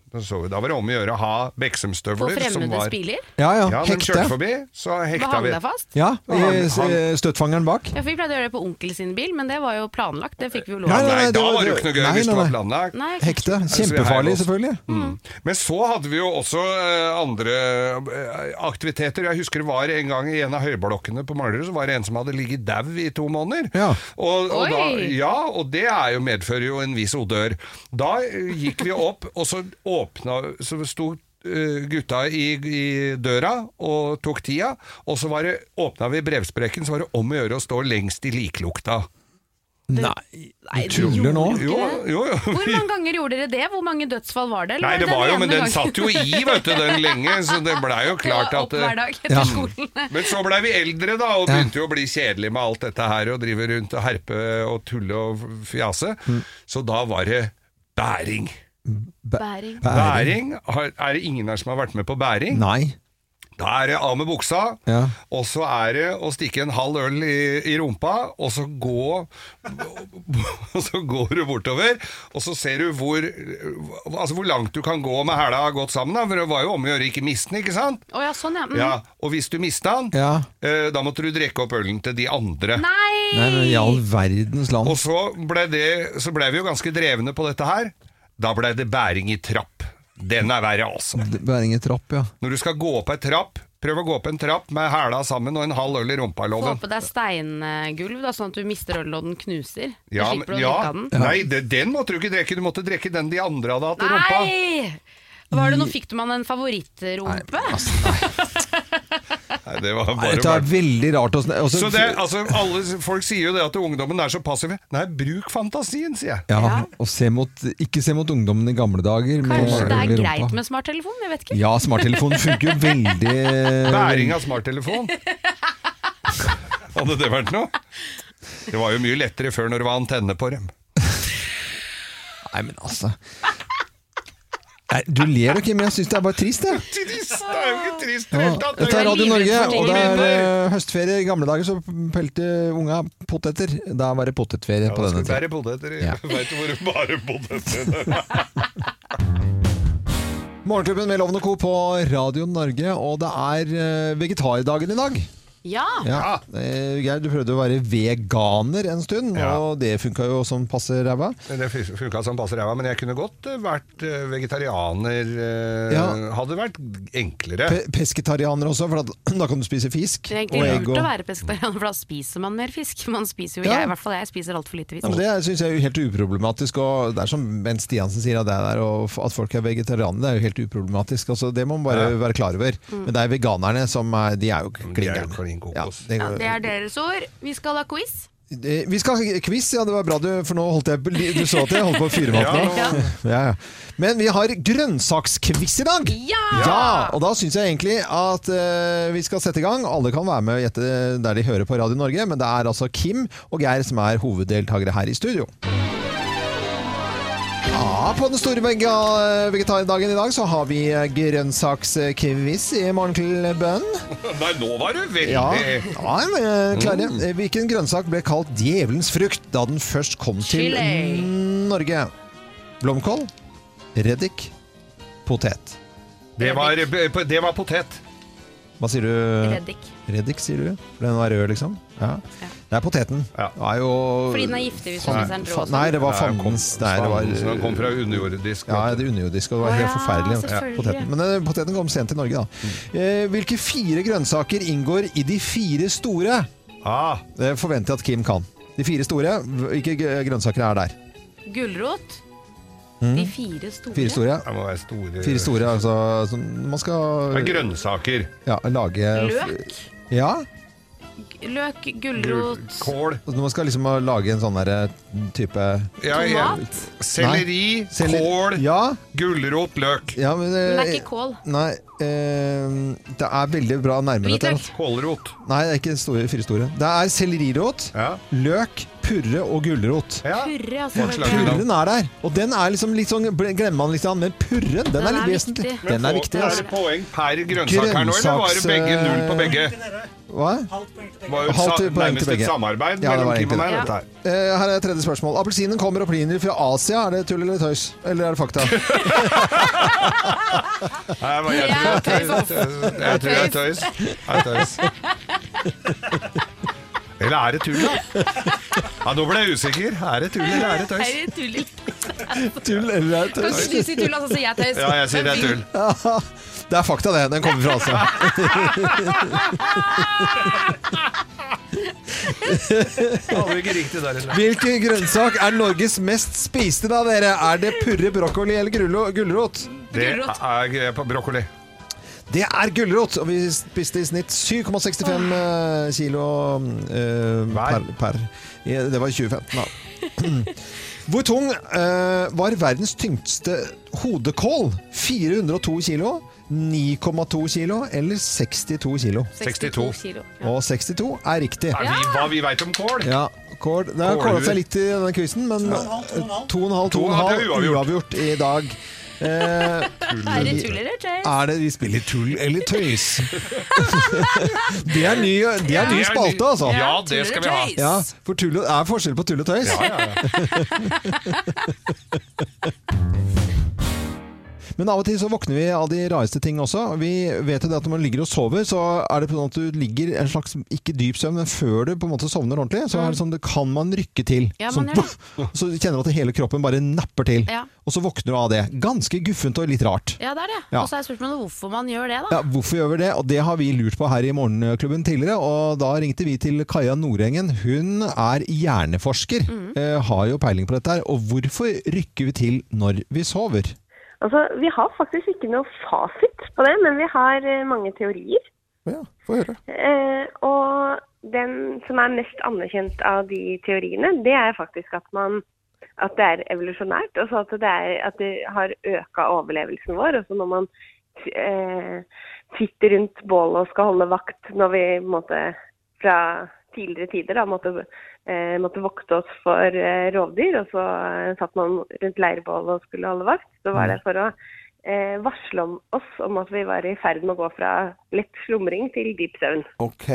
S3: Da, så vi, da var det om å gjøre å ha
S2: På
S3: Beksømstøvler. som
S2: fremmedes
S3: var-
S2: biler.
S1: Ja ja,
S3: Ja, den kjørte
S1: hekte.
S3: forbi, så
S2: Hva
S3: hekta
S2: hang
S3: vi.
S2: deg fast?
S1: Ja,
S3: Ja, han-
S1: i støtfangeren bak.
S2: Ja, for Vi pleide å gjøre det på onkel sin bil, men det var jo planlagt. Det fikk vi jo lov
S1: Nei,
S3: Nei,
S2: til.
S1: nei, det
S3: da
S1: var-
S3: var det jo ikke noe gøy
S1: nei,
S3: hvis det
S1: nei,
S3: var
S1: nei.
S3: planlagt.
S2: Nei, kanskje
S1: Hekte.
S3: Altså, vi har
S1: Kjempefarlig,
S3: jo-
S1: selvfølgelig.
S3: Men så hadde vi jo også eh, andre eh, aktiviteter. Jeg husker det var en gang i en av høyblokkene på Manglerud, så var det en som hadde ligget dau i to måneder.
S1: Ja.
S3: Og, og da,
S2: Oi!
S3: ja, og det er jo, medfører jo en viss odør. Da eh, gikk vi opp, og så åpna Så sto eh, gutta i, i døra og tok tida, og så var det, åpna vi brevsprekken, så var det om å gjøre å stå lengst i liklukta.
S1: Nei,
S2: Nei,
S1: du
S2: det
S1: tuller nå.
S2: gjorde
S3: Jo, jo, jo.
S2: Hvor mange ganger gjorde dere det? Hvor mange dødsfall var det? eller
S3: Nei, det
S2: den
S3: var jo,
S2: ene
S3: men den
S2: gangen?
S3: satt jo i, vet du, den lenge, så det blei jo klart at
S2: Det var Opp
S3: eh,
S2: hver dag etter
S1: Ja.
S2: skolen.
S3: Men så blei vi eldre, da, og
S1: Ja.
S3: begynte jo å bli kjedelig med alt dette her, og drive rundt og herpe og tulle og fjase. Så da var det bæring.
S2: Bæring.
S3: Bæring har- Er det ingen her som har vært med på bæring?
S1: Nei.
S3: Da er det av med buksa,
S1: Ja.
S3: og så er det å stikke en halv øl i, i rumpa, og så gå Og så går du bortover, og så ser du hvor Altså hvor langt du kan gå med hæla godt sammen, da, for det var jo om å gjøre ikke miste den, ikke sant?
S2: Å ja, sånn ja. Mm.
S3: Ja, og hvis du mista den,
S1: Mhm. Ja.
S3: eh, da måtte du drikke opp ølen til de andre.
S2: Nei!
S1: Nei, men I all verdens land.
S3: Og så ble, det, så ble vi jo ganske drevne på dette her. Da ble det bæring i trapp. Den er verre, altså.
S1: Bæring i trapp, ja.
S3: Når du skal gå opp ei trapp, prøv å gå opp en trapp med hæla sammen og en halv øl i
S2: Få
S3: rumpa-loven.
S2: på deg steingulv, da, sånn at du mister ølen og den knuser. Så
S3: Ja,
S2: slipper du å
S3: ja.
S2: drikke av den.
S3: Nei, det, den måtte du ikke drikke. Du måtte drikke den de andre hadde hatt i rumpa.
S2: Nei! Var det
S1: Mm.
S2: noe, fikk du man en favorittrumpe?
S1: altså,
S3: Nei, det var
S1: Nei,
S3: bare
S1: Dette er
S3: bare.
S1: veldig rart. og sånn- og
S3: Så det, altså, alle, Folk sier jo det at ungdommen er så passiv. Nei, bruk fantasien, sier jeg.
S1: ja, og se mot, ikke se mot ungdommen i gamle dager. men
S2: Kanskje det
S1: øl i
S2: er
S1: rumpa.
S2: greit med smarttelefon? Jeg vet ikke.
S1: Ja, smarttelefonen funker jo veldig
S3: Bæring av smarttelefon. Hadde det vært noe? Det var jo mye lettere før når det var antenne på dem.
S1: Nei, men altså Nei, Du ler jo ikke, men jeg syns det er bare trist, jeg.
S3: Trist, det er jo ikke trist i det
S1: Ja.
S3: hele tatt.
S1: Dette er Radio Norge, og det er
S3: Minner.
S1: eh, høstferie. I gamle dager så pelte unga poteter. Da var det potetferie
S3: Ja,
S1: på
S3: da
S1: denne
S3: skulle
S1: tiden.
S3: Bare bodde etter,
S1: Ja.
S3: Vet du hvor du bare bodde etter?
S1: Morgenklubben med Loven og Co. på Radio Norge, og det er eh, vegetardagen i dag.
S2: Ja!
S1: Ja. Eh, Geir, du prøvde å være veganer en stund,
S3: Ja.
S1: og det funka jo som passe ræva.
S3: Det funka som passer ræva, men jeg kunne godt eh, vært eh, vegetarianer. eh,
S1: Ja.
S3: Hadde vært enklere.
S1: Pe pesketarianer også, for da, da kan du spise fisk
S2: Det er
S1: og
S2: egentlig lurt
S1: egg.
S2: å
S1: Og...
S2: være pesketarianer, for da spiser man mer fisk. Man spiser jo,
S1: Ja.
S2: jeg, I hvert fall jeg spiser altfor lite
S1: Ja, men
S2: fisk.
S1: det syns jeg er jo helt uproblematisk. Og det er som Bent Stiansen sier, at, det der, og f- at folk er vegetarianere, det er jo helt uproblematisk. Altså, det må man bare
S3: Ja.
S1: være klar over.
S2: Mm.
S1: Men det er veganerne som er De er jo
S3: De er jo
S1: klin
S3: klin
S1: gærne.
S3: kokos.
S1: det-
S2: Ja, det er deres ord. Vi skal ha quiz.
S1: Eh, Vi skal ha quiz, ja det var bra du, for nå holdt jeg på li- Du så at jeg holdt på å fyre meg opp nå.
S3: Ja,
S1: Ja, ja. Men vi har grønnsaksquiz i dag!
S2: Ja!
S1: Og da syns jeg egentlig at eh, vi skal sette i gang. Alle kan være med og gjette der de hører på Radio Norge, men det er altså Kim og Geir som er hoveddeltakere her i studio. Ja, på den store vega- vegetardagen i dag så har vi grønnsaksquiz i morgen til bønn.
S3: Nei, nå var du veldig
S1: Ja, ja men jeg klarer
S3: Mm.
S1: det. Hvilken grønnsak ble kalt djevelens frukt da den først kom til
S2: Chili.
S1: Norge? Blomkål, reddik, potet.
S3: det, var, eh, det var potet.
S1: Hva sier du?
S2: Reddik.
S1: Reddik, sier du? For Den var rød, liksom? Ja. Det er poteten.
S3: Ja.
S1: Det er jo
S2: Fordi den er giftig hvis
S1: Fan-
S2: man spiser den rå.
S1: fa- Nei, det var
S3: Nei, den kom-
S1: fandens. Nei, det var
S3: Svansen, Den kom fra underjordisk.
S1: ja, det er underjordisk, og det var
S2: Å
S1: helt
S2: ja,
S1: forferdelig.
S2: selvfølgelig.
S1: poteten. Men eh, poteten kom sent til Norge, da.
S3: Mm.
S1: Eh, Hvilke fire grønnsaker inngår i de fire store?
S3: Ah,
S1: Det Eh, forventer jeg at Kim kan. De fire store, hvilke gr- grønnsaker er der?
S2: Gulrot. De fire store.
S1: Mm. Fire store,
S3: det må være store,
S1: fire store altså som man skal
S3: Det er grønnsaker.
S1: ja, lage
S2: Løk.
S1: Ja,
S2: Løk, gulrot,
S3: Kål.
S1: altså når man skal liksom lage en sånn der type
S3: Ja, jeg-
S2: tomat.
S3: Selleri,
S1: Selleri-
S3: kål,
S1: Ja,
S3: gulrot, løk.
S1: ja men
S2: Men det
S1: eh,
S2: er ikke kål.
S1: Nei, eh, det er veldig bra nærmere til.
S2: Hvitløk.
S3: Kålrot.
S1: Nei, det er ikke store, fire store. Det er sellerirot,
S3: Ja.
S1: løk, purre og gulrot.
S3: Ja.
S2: Purre, altså.
S3: Forslag.
S2: Purre.
S1: Purren er der, og den er liksom litt sånn, ble- glemmer man litt, men purren, den, er
S2: er
S1: litt vesentlig.
S2: viktig.
S1: Den er viktig,
S3: altså.
S1: altså.
S3: Er det poeng per grønnsak her nå, eller var det begge
S1: Grønnsaks-
S3: null på begge?
S1: Hva?
S3: Det var jo
S1: Halvt
S3: sa-
S1: poeng til
S3: nærmest et
S1: begge.
S3: samarbeid
S1: Ja, det
S3: mellom
S1: var
S3: Kim og meg.
S2: egentlig
S3: dette her.
S1: Eh, her er tredje spørsmål. Appelsinen kommer opprinnelig fra Asia. Er det tull eller tøys? Eller er det fakta?
S3: Nei, men Jeg
S2: Ja,
S3: tror jeg
S2: tøys, ass.
S3: jeg tror jeg er tøys. Jeg er tøys. Eller er det tull, da? Ja, nå ble jeg usikker. Er det tull, eller er det
S2: Er
S3: tøys?
S2: det tull?
S1: tull eller er det
S2: Kan ikke du si tull, altså, så sier jeg tøys?
S3: Ja, jeg sier det er tull.
S1: Det er fakta, det. Den kommer fra Asia.
S3: Hadde ikke riktig der, eller?
S1: Hvilken grønnsak er Norges mest spiste, da, dere? Er det purre, brokkoli eller grulo- gulrot?
S3: Det er jeg er på brokkoli.
S1: Det er gulrot, og vi spiste i snitt 7,65 eh, kilo eh, per, per. Ja, Det var i 2015, da. Hvor tung eh, var verdens tyngste hodekål? 402 kilo, 9,2 kilo eller 62 kilo?
S3: 62
S2: kilo.
S1: Og 62 er riktig.
S3: Er vi hva vi veit om kål?
S1: Ja, Kål. Det har
S3: Kålhuer.
S1: kåla seg litt i denne quizen, men 2,5
S3: To og en halv, det er uavgjort.
S1: uavgjort i dag. Eh,
S2: Er det tull eller tøys?
S1: er det vi spiller tull eller tøys? det er ny, det er
S3: Det
S1: ny
S3: er
S1: spalte,
S3: ny-
S1: altså.
S3: Ja,
S2: Ja,
S3: det skal vi ha.
S2: tull eller tøys?
S1: Ja, for tull og, er forskjell på tull og tøys.
S3: Ja, ja, ja.
S1: Men av og til så våkner vi av de rareste ting også. Vi vet jo det at når man ligger og sover, så er det på sånn at du ligger en slags, ikke dyp søvn, men før du på en måte sovner ordentlig, så er det sånn, det kan man rykke til.
S2: Mm. Ja,
S1: sånn,
S2: man gjør det.
S1: og så kjenner du at hele kroppen bare napper til.
S2: Ja.
S1: Og så våkner du av det. Ganske guffent og litt rart.
S2: Ja, det er det.
S1: Ja.
S2: Og så er spørsmålet hvorfor man gjør det, da.
S1: Ja, hvorfor gjør vi det? Og det har vi lurt på her i Morgenklubben tidligere, og da ringte vi til Kaja Nordengen. Hun er hjerneforsker,
S2: Mm.
S1: eh, har jo peiling på dette her, og hvorfor rykker vi til når vi sover?
S4: Altså, Vi har faktisk ikke noe fasit på det, men vi har eh, mange teorier.
S1: Ja, få høre.
S4: Eh, og den som er mest anerkjent av de teoriene, det er faktisk at, man, at det er evolusjonært. Og så at det, er, at det har øka overlevelsen vår. Og så når man eh, sitter rundt bålet og skal holde vakt når vi måtte, fra tidligere tider da, måtte, eh, måtte vokte oss for eh, rovdyr, og så eh, satt man rundt leirbålet og skulle holde vakt, så var det for å eh, varsle om oss om at vi var i ferd med å gå fra lett slumring til dyp søvn.
S1: Ok.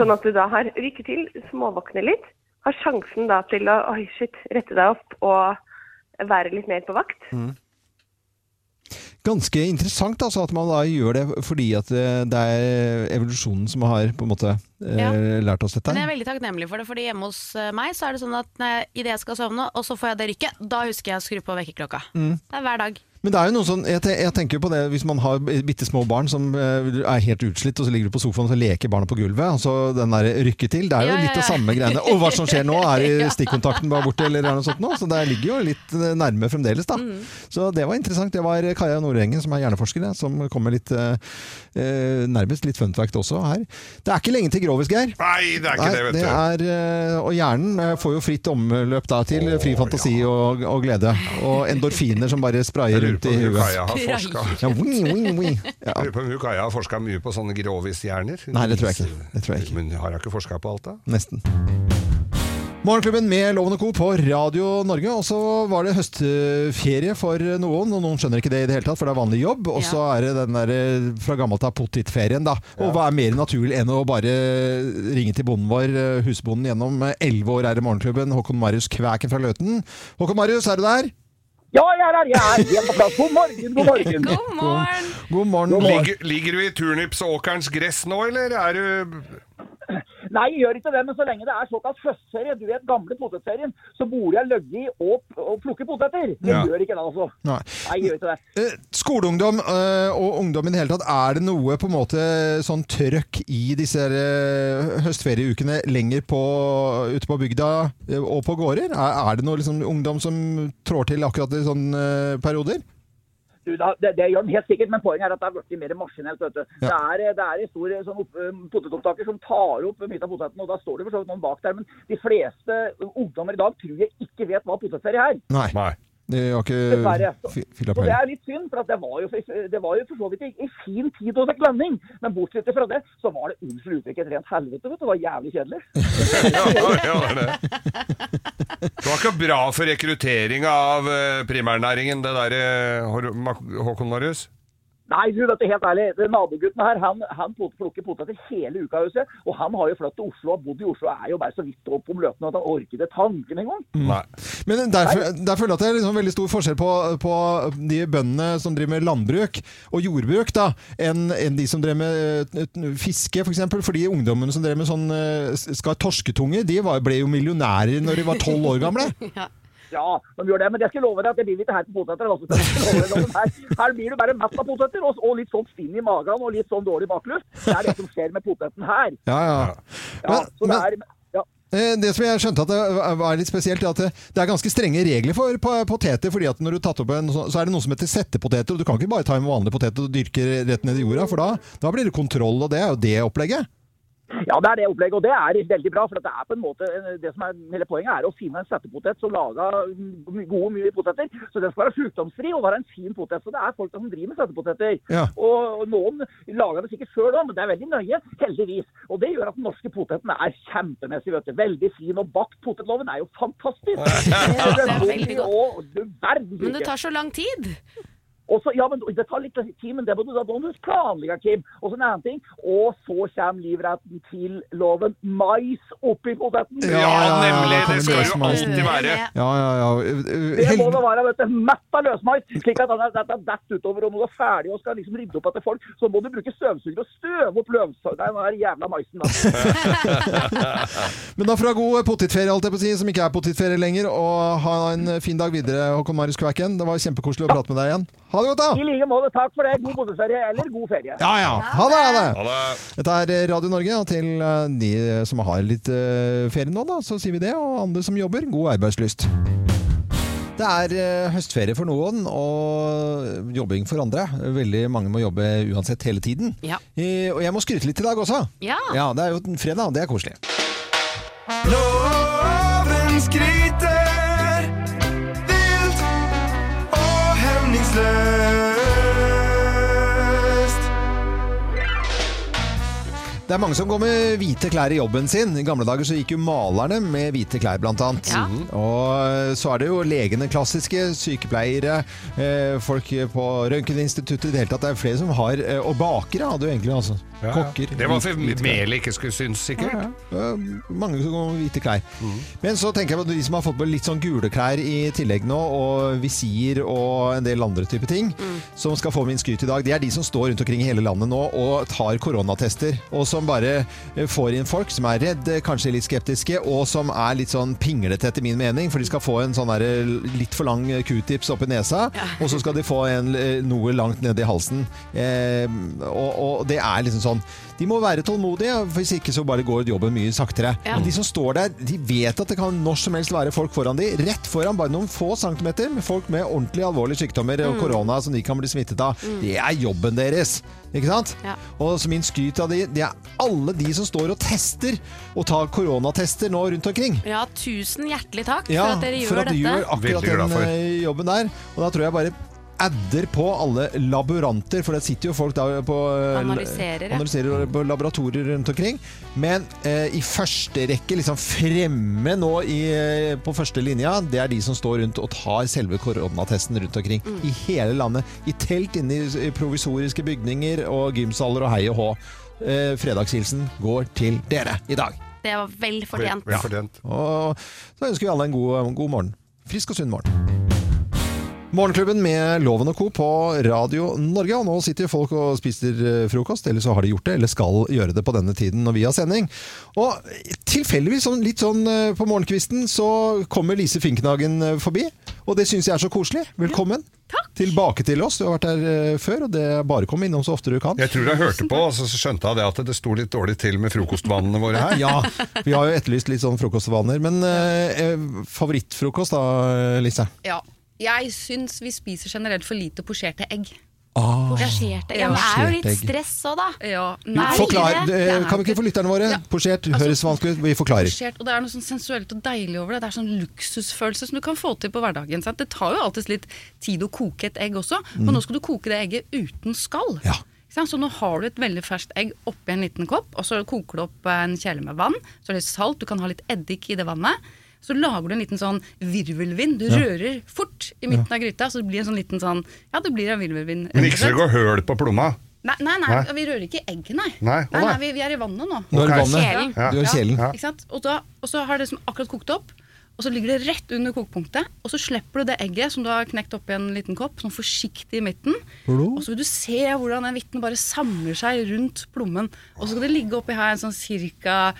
S4: Sånn at du da har rykket til, småvåkner litt, har sjansen da til å oi shit, rette deg opp og være litt mer på vakt.
S3: Mm.
S1: Ganske interessant altså, at man da gjør det fordi at eh, det er evolusjonen som har på en måte eh,
S2: Ja.
S1: lært oss dette.
S2: Men jeg
S1: her.
S2: er veldig takknemlig for det, fordi hjemme hos eh, meg så er det sånn at når jeg, i det jeg skal sovne, og så får jeg det rykket, da husker jeg å skru på vekkerklokka.
S1: Mm.
S2: Det er hver dag.
S1: Men det er jo noe sånn, jeg, te- jeg tenker jo på det hvis man har bitte små barn som eh, er helt utslitt, og så ligger du på sofaen og så leker barna på gulvet, og så den der rykke til. Det er jo
S2: Ja, ja,
S1: litt av
S2: ja.
S1: samme greiene. Og hva som skjer nå? Er det
S2: Ja.
S1: stikkontakten bare borte, eller er det noe sånt nå? Så det ligger jo litt eh, nærme fremdeles, da.
S2: Mm.
S1: Så det var interessant. Det var Kaja Nordengen, som er hjerneforsker, som kom med litt eh, eh, nærmest litt fun fact også her. Det er ikke lenge til grovis, Geir.
S3: Nei, det er ikke det, vet
S1: det
S3: du.
S1: er, eh, og hjernen eh, får jo fritt omløp da til fri fantasi og, og glede. Og endorfiner som bare sprayer
S3: Jeg lurer
S1: rundt
S3: på om hun Kaja har forska
S1: i huet. Ja, wing, wing, wing. Ja.
S3: Jeg lurer på om hun Kaja har forska mye på sånne grovishjerner.
S1: Nei, det tror jeg ikke. Det tror jeg ikke.
S3: Men har hun ikke forska på alt, da?
S1: Nesten. Morgenklubben med Loven og Co. på Radio Norge. Og så var det høstferie for noen, og noen skjønner ikke det i det hele tatt, for det er vanlig jobb. Og så er det den der eh, fra gammelt av potetferien, da. Og hva er mer naturlig enn å bare eh, ringe til bonden vår, eh, husbonden gjennom eh, 11 år her i Morgenklubben, Håkon Marius Kvæken fra Løten. Håkon Marius, er du der?
S7: Ja, jeg er her! Jeg er helt på plass. God morgen, god morgen!
S2: God morgen!
S1: God morgen.
S3: Ligger, ligger du i turnips-åkerens gress nå, eller er du
S7: Nei, jeg gjør ikke det, men så lenge det er såkalt høstferie, du vet gamle potetserien, så bor jeg løgge i og, og plukker poteter. Men
S3: Ja.
S7: gjør ikke det, altså.
S1: Nei.
S7: Nei, jeg gjør ikke det.
S1: Eh, Skoleungdom eh, og ungdom i det hele tatt, er det noe på en måte sånn trøkk i disse her, eh, høstferieukene lenger på, ute på bygda eh, og på gårder? Er, er det noe liksom, ungdom som trår til akkurat i sånne eh, perioder?
S7: Du, da, det, det gjør den helt sikkert, men poenget er at det er blitt mer maskinelt. vet du.
S1: Ja.
S7: Det er, eh, det er en stor eh, sånn, opp- eh, potetopptaker som tar opp mye av potetene, og da står det for så vidt noen bak der. Men de fleste ungdommer i dag tror jeg ikke vet hva potetferie er.
S1: Nei.
S3: Nei.
S1: Det har
S7: Dessverre.
S1: ikke fi- fylla
S7: Og det
S1: peiling.
S7: er litt synd, for at det, var jo, det var jo for så vidt i, i fin tid hos en klenning. Men bortsett fra det, så var det unnskyld uttrykket et rent helvete. vet du, Det var jævlig kjedelig.
S3: Ja, ja, det er det. Det var ikke bra for rekruttering av eh, primærnæringen, det derre Håkon Marius?
S7: Nei, du vet det, helt ærlig, det nabogutten her, han, han pot- plukker poteter hele uka, huset, og han har jo flyttet til Oslo og bodd i Oslo, og er jo bare så vidt opp om løpene at han orket det tanken en gang.
S3: Nei.
S1: Men derfor, der føler jeg at det er liksom veldig stor forskjell på, på de bøndene som driver med landbruk og jordbruk, da, enn enn de som drev med eh, t- fiske, f.eks. For fordi ungdommene som drev med sånn eh, skar torsketunge, de var, ble jo millionærer når de var tolv år gamle.
S7: Ja, de gjør det, men jeg skal love deg at det blir ikke her på poteter. Altså. Jeg skal love deg at her, her blir det bare mest av poteter, og, og litt sånn stinn i magen, og litt sånn dårlig bakluft. Det er det som skjer med poteten her.
S1: Ja, ja.
S7: Ja,
S1: Men,
S7: så det
S1: men
S7: er... Ja.
S1: eh, det som jeg skjønte at det eh, var litt spesielt, er at det- det er ganske strenge regler for po- poteter. fordi at når du har tatt opp en, sånn- så er det noe som heter settepoteter, og du kan ikke bare ta en vanlig potet og dyrke rett ned i jorda, for da, da blir det kontroll, og det er jo det opplegget.
S7: Ja, det er det opplegget, og det er veldig bra. For det er på en måte, eh, det som er hele poenget er å finne en settepotet som lager my- gode, mye poteter. Så den skal være sjukdomsfri og være en fin potet. Så det er folk som driver med settepoteter.
S1: Ja.
S7: Og, og noen lager det sikkert sjøl òg, men det er veldig nøye, heldigvis. Og det gjør at den norske poteten er kjempemessig, vet du. Veldig fin. Og bakt potetloven er jo fantastisk.
S2: det er veldig godt.
S7: Og du verden
S2: Men det
S7: ikke.
S2: tar så lang tid.
S7: Og så, ja, men Det tar litt tid, men det må du da da må du planlegge, Kim. Og så en annen ting. Og så kommer livretten til loven. Mais oppi poteten.
S1: Ja,
S3: Ja,
S1: ja, ja,
S3: nemlig!
S1: da kommer
S3: Det skal jo
S1: løsmeisen.
S3: alltid være.
S1: Ja, ja, ja.
S7: Det må
S1: Hel-
S7: da være vet du, mett av løsmais, slik at dette er dett utover. Og når du er ferdig og skal liksom rydde opp etter folk, så må du bruke støvsuger og støve opp løvsa- Nei, den her jævla maisen. Da.
S1: Men da fra god potetferie, alt jeg på å si, som ikke er potetferie lenger, og ha en fin dag videre, Håkon Marius Kvæken. Det var kjempekoselig å prate med deg igjen. Ha det godt, da!
S7: I like måte. Takk for det. God bodeferie eller god ferie.
S1: Ja, ja. Ha det! Ha det.
S3: Ha det.
S1: Dette er Radio Norge, og til eh, de som har litt eh, ferie nå, da, så sier vi det. Og andre som jobber, god arbeidslyst. Det er eh, høstferie for noen og jobbing for andre. Veldig mange må jobbe uansett hele tiden.
S2: Ja.
S1: Eh, Og jeg må skryte litt i dag også.
S2: Ja.
S1: ja det er jo en fredag, og det er koselig.
S8: Loven skryter vilt og hemningsløst.
S1: Det er mange som går med hvite klær i jobben sin. I gamle dager så gikk jo malerne med hvite klær, blant annet.
S2: Ja.
S1: Og så er det jo legene klassiske, sykepleiere, eh, folk på Røntgeninstituttet i det hele tatt. Det er flere som har eh, Og bakere hadde jo egentlig, altså.
S3: Ja, ja.
S1: Kokker.
S3: Det var for
S1: hvite- hvite klær.
S3: melet ikke skulle synes, sikkert.
S1: Ja, mange som går med hvite klær. Men så tenker jeg på de som har fått på litt sånn gule klær i tillegg nå, og visir og en del andre typer ting, som skal få min skryt i dag. Det er de som står rundt omkring i hele landet nå og tar koronatester, og som bare eh, får inn folk som er redde, kanskje litt skeptiske, og som er litt sånn pinglete etter min mening, for de skal få en sånn der eh, litt for lang eh, q-tips oppi nesa, og så skal de få en, eh, noe langt nede i halsen. Eh, og, og det er liksom sånn De må være tålmodige, for hvis ikke så bare går jobben mye saktere.
S2: Ja.
S1: Men de som står der, de vet at det kan når som helst være folk foran de, rett foran bare noen få centimeter, med folk med ordentlig alvorlige sykdommer
S2: Mm.
S1: og korona som de kan bli smittet av. Det er jobben deres. Ikke sant?
S2: Ja.
S1: Og så min skryt av de, det er alle de som står og tester, og tar koronatester nå rundt omkring.
S2: Ja, tusen hjertelig takk
S1: Ja,
S2: for at dere gjør
S1: for at de
S2: dette.
S1: gjør akkurat
S3: Veldig glad
S1: den
S3: for.
S1: eh, jobben der. Og da tror jeg bare adder på alle laboranter, for det sitter jo folk der på eh,
S2: Analyserer, ja.
S1: analyserer på laboratorier rundt omkring. Men eh, i første rekke, liksom fremme nå i, eh, på første linja, det er de som står rundt og tar selve koronatesten rundt omkring.
S2: Mm.
S1: I hele landet. I telt inne i provisoriske bygninger og gymsaler og hei og hå. Eh, fredagshilsen går til dere i dag.
S2: Det var vel fortjent.
S3: Vel fortjent.
S1: Og så ønsker vi alle en god, god morgen. Frisk og sunn morgen. Morgenklubben med Loven og Co. på Radio Norge. Og nå sitter folk og spiser eh, frokost, eller så har de gjort det, eller skal gjøre det på denne tiden når vi har sending. Og tilfeldigvis, sånn, litt sånn eh, på morgenkvisten, så kommer Lise Finknagen eh, forbi. Og det syns jeg er så koselig. Velkommen tilbake til oss. Du har vært her eh, før, og det er bare å komme innom så ofte du kan.
S3: Jeg tror jeg hørte på, og så skjønte jeg det at det sto litt dårlig til med frokostvanene våre her.
S1: Ja, vi har jo etterlyst litt sånn frokostvaner. Men eh, eh, favorittfrokost da, Lise?
S9: Ja. Jeg syns vi spiser generelt for lite posjerte egg.
S1: Ah.
S2: Posjerte. Ja, men det er jo litt
S1: Posjerte egg.
S2: stress òg, da.
S9: Ja,
S2: Nei, Altså-
S1: Forklar,
S2: det
S1: eh,
S9: er
S1: kan vi ikke få lytterne våre? Posjert, høres vanskelig ut, vi forklarer.
S9: posjert, og det er noe sånn sensuelt og deilig over det. Det er sånn luksusfølelse som du kan få til på hverdagen. Sant? Det tar jo alltid litt tid å koke et egg også,
S3: Mm.
S9: men nå skal du koke det egget uten skall.
S1: Ja.
S9: Ikke sant? Så nå har du et veldig ferskt egg oppi en liten kopp, og så koker du opp en kjele med vann. Så er det salt, du kan ha litt eddik i det vannet. Så lager du en liten sånn virvelvind. Du rører fort i midten av gryta, så det blir en sånn liten sånn Ja, det blir en virvelvind.
S3: Men ikke så det går høl på plomma.
S9: Nei, nei, nei,
S3: Nei.
S9: vi rører ikke egget, nei.
S3: Nei, å nei.
S9: nei, nei vi, vi er i vannet nå.
S1: Nå er det
S3: Ok.
S1: vannet.
S2: Kjelen.
S1: Du har kjelen.
S9: Ikke sant? Og, da, og så har det liksom akkurat kokt opp, og så ligger det rett under kokepunktet. Og så slipper du det egget som du har knekt oppi en liten kopp, sånn forsiktig i midten.
S1: Hallo?
S9: Og så vil du se hvordan den hvitten bare samler seg rundt plommen. Og så skal det ligge oppi her sånn ca.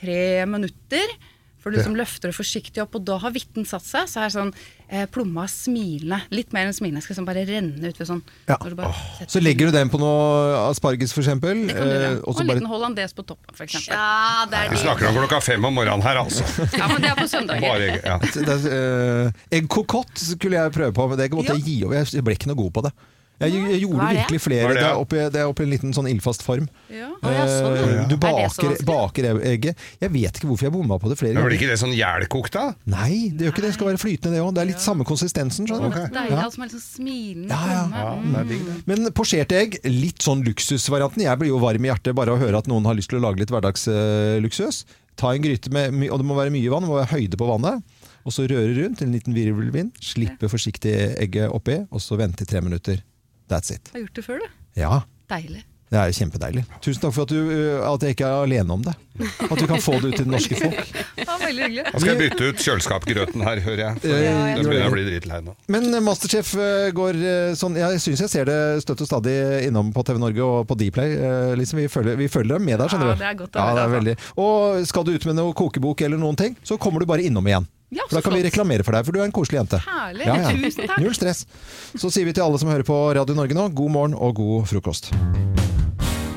S9: tre minutter. For du liksom løfter det forsiktig opp, og da har hvitten satt seg. Så er sånn eh, plomma smilende. Litt mer enn smilende. Skal liksom bare renne ut ved sånn.
S1: Ja.
S9: når du bare setter-
S1: Så legger du den på noe asparges, for eksempel.
S9: Det kan du gjøre.
S1: eh, og
S9: Og
S1: så
S9: en liten
S1: bare
S9: hollandes på toppen, for eksempel.
S2: Ja, det er
S3: Vi
S2: det.
S3: snakker om klokka fem om morgenen her, altså.
S9: Ja, men det er på søndager.
S3: Bare, ja.
S1: det er, eh, En kokott skulle jeg prøve på, men det måtte jeg gi over. Jeg ble ikke noe god på det. Jeg, jeg gjorde
S2: Hva er det?
S1: virkelig
S3: Hva
S1: flere.
S3: er det?
S1: Det er oppi, det er oppi en liten sånn ildfast form.
S9: Ja.
S2: Å, ja, sånn, ja.
S1: Eh, Du
S2: Er det så
S1: baker,
S2: vanskelig?
S1: baker egget. Jeg vet ikke hvorfor jeg bomma på det flere
S3: Men blir
S1: ganger.
S3: ikke det sånn jævlkokt, da?
S1: Nei, det gjør ikke det. Det skal være flytende, det òg. Det er litt samme konsistensen. skjønner du.
S9: Deilig, alt som er liksom smilende.
S1: Ja, ja.
S9: plommer.
S3: Ja, det er digg, det.
S1: Men posjerte egg, litt sånn luksusvarianten. Jeg blir jo varm i hjertet bare av å høre at noen har lyst til å lage litt hverdagsluksus. Ta en gryte med, my- og det må være mye vann, det må være høyde på vannet. Og så røre rundt, en liten virvelvind, slippe forsiktig egget oppi, og så vente i tre minutter. That's it.
S9: Har gjort det før, du.
S1: Ja,
S9: Deilig.
S1: det er kjempedeilig. Tusen takk for at, du, ø, at jeg ikke er alene om det. At vi kan få det ut til det norske folk.
S9: Det var veldig hyggelig.
S3: Da skal jeg bytte ut kjøleskapgrøten her, hører jeg. For
S1: Ja, ja.
S3: Da begynner jeg å bli dritlei nå.
S1: Men ø, Masterchef ø, går ø, sånn ja, Jeg syns jeg ser det støtt og stadig innom på TV Norge og på Dplay. ø, Liksom, vi, følger, vi følger dem med der, skjønner du.
S9: Ja, det er godt å
S1: Ja,
S9: høre,
S1: det er
S9: altså.
S1: veldig. Og skal du ut med noe kokebok eller noen ting, så kommer du bare innom igjen.
S9: Ja,
S1: for Da
S9: så
S1: kan vi
S9: flott.
S1: reklamere for deg, for du er en koselig jente.
S9: Herlig.
S1: Ja, ja.
S9: Tusen takk.
S1: Null stress. Så sier vi til alle som hører på Radio Norge nå, god morgen og god frokost.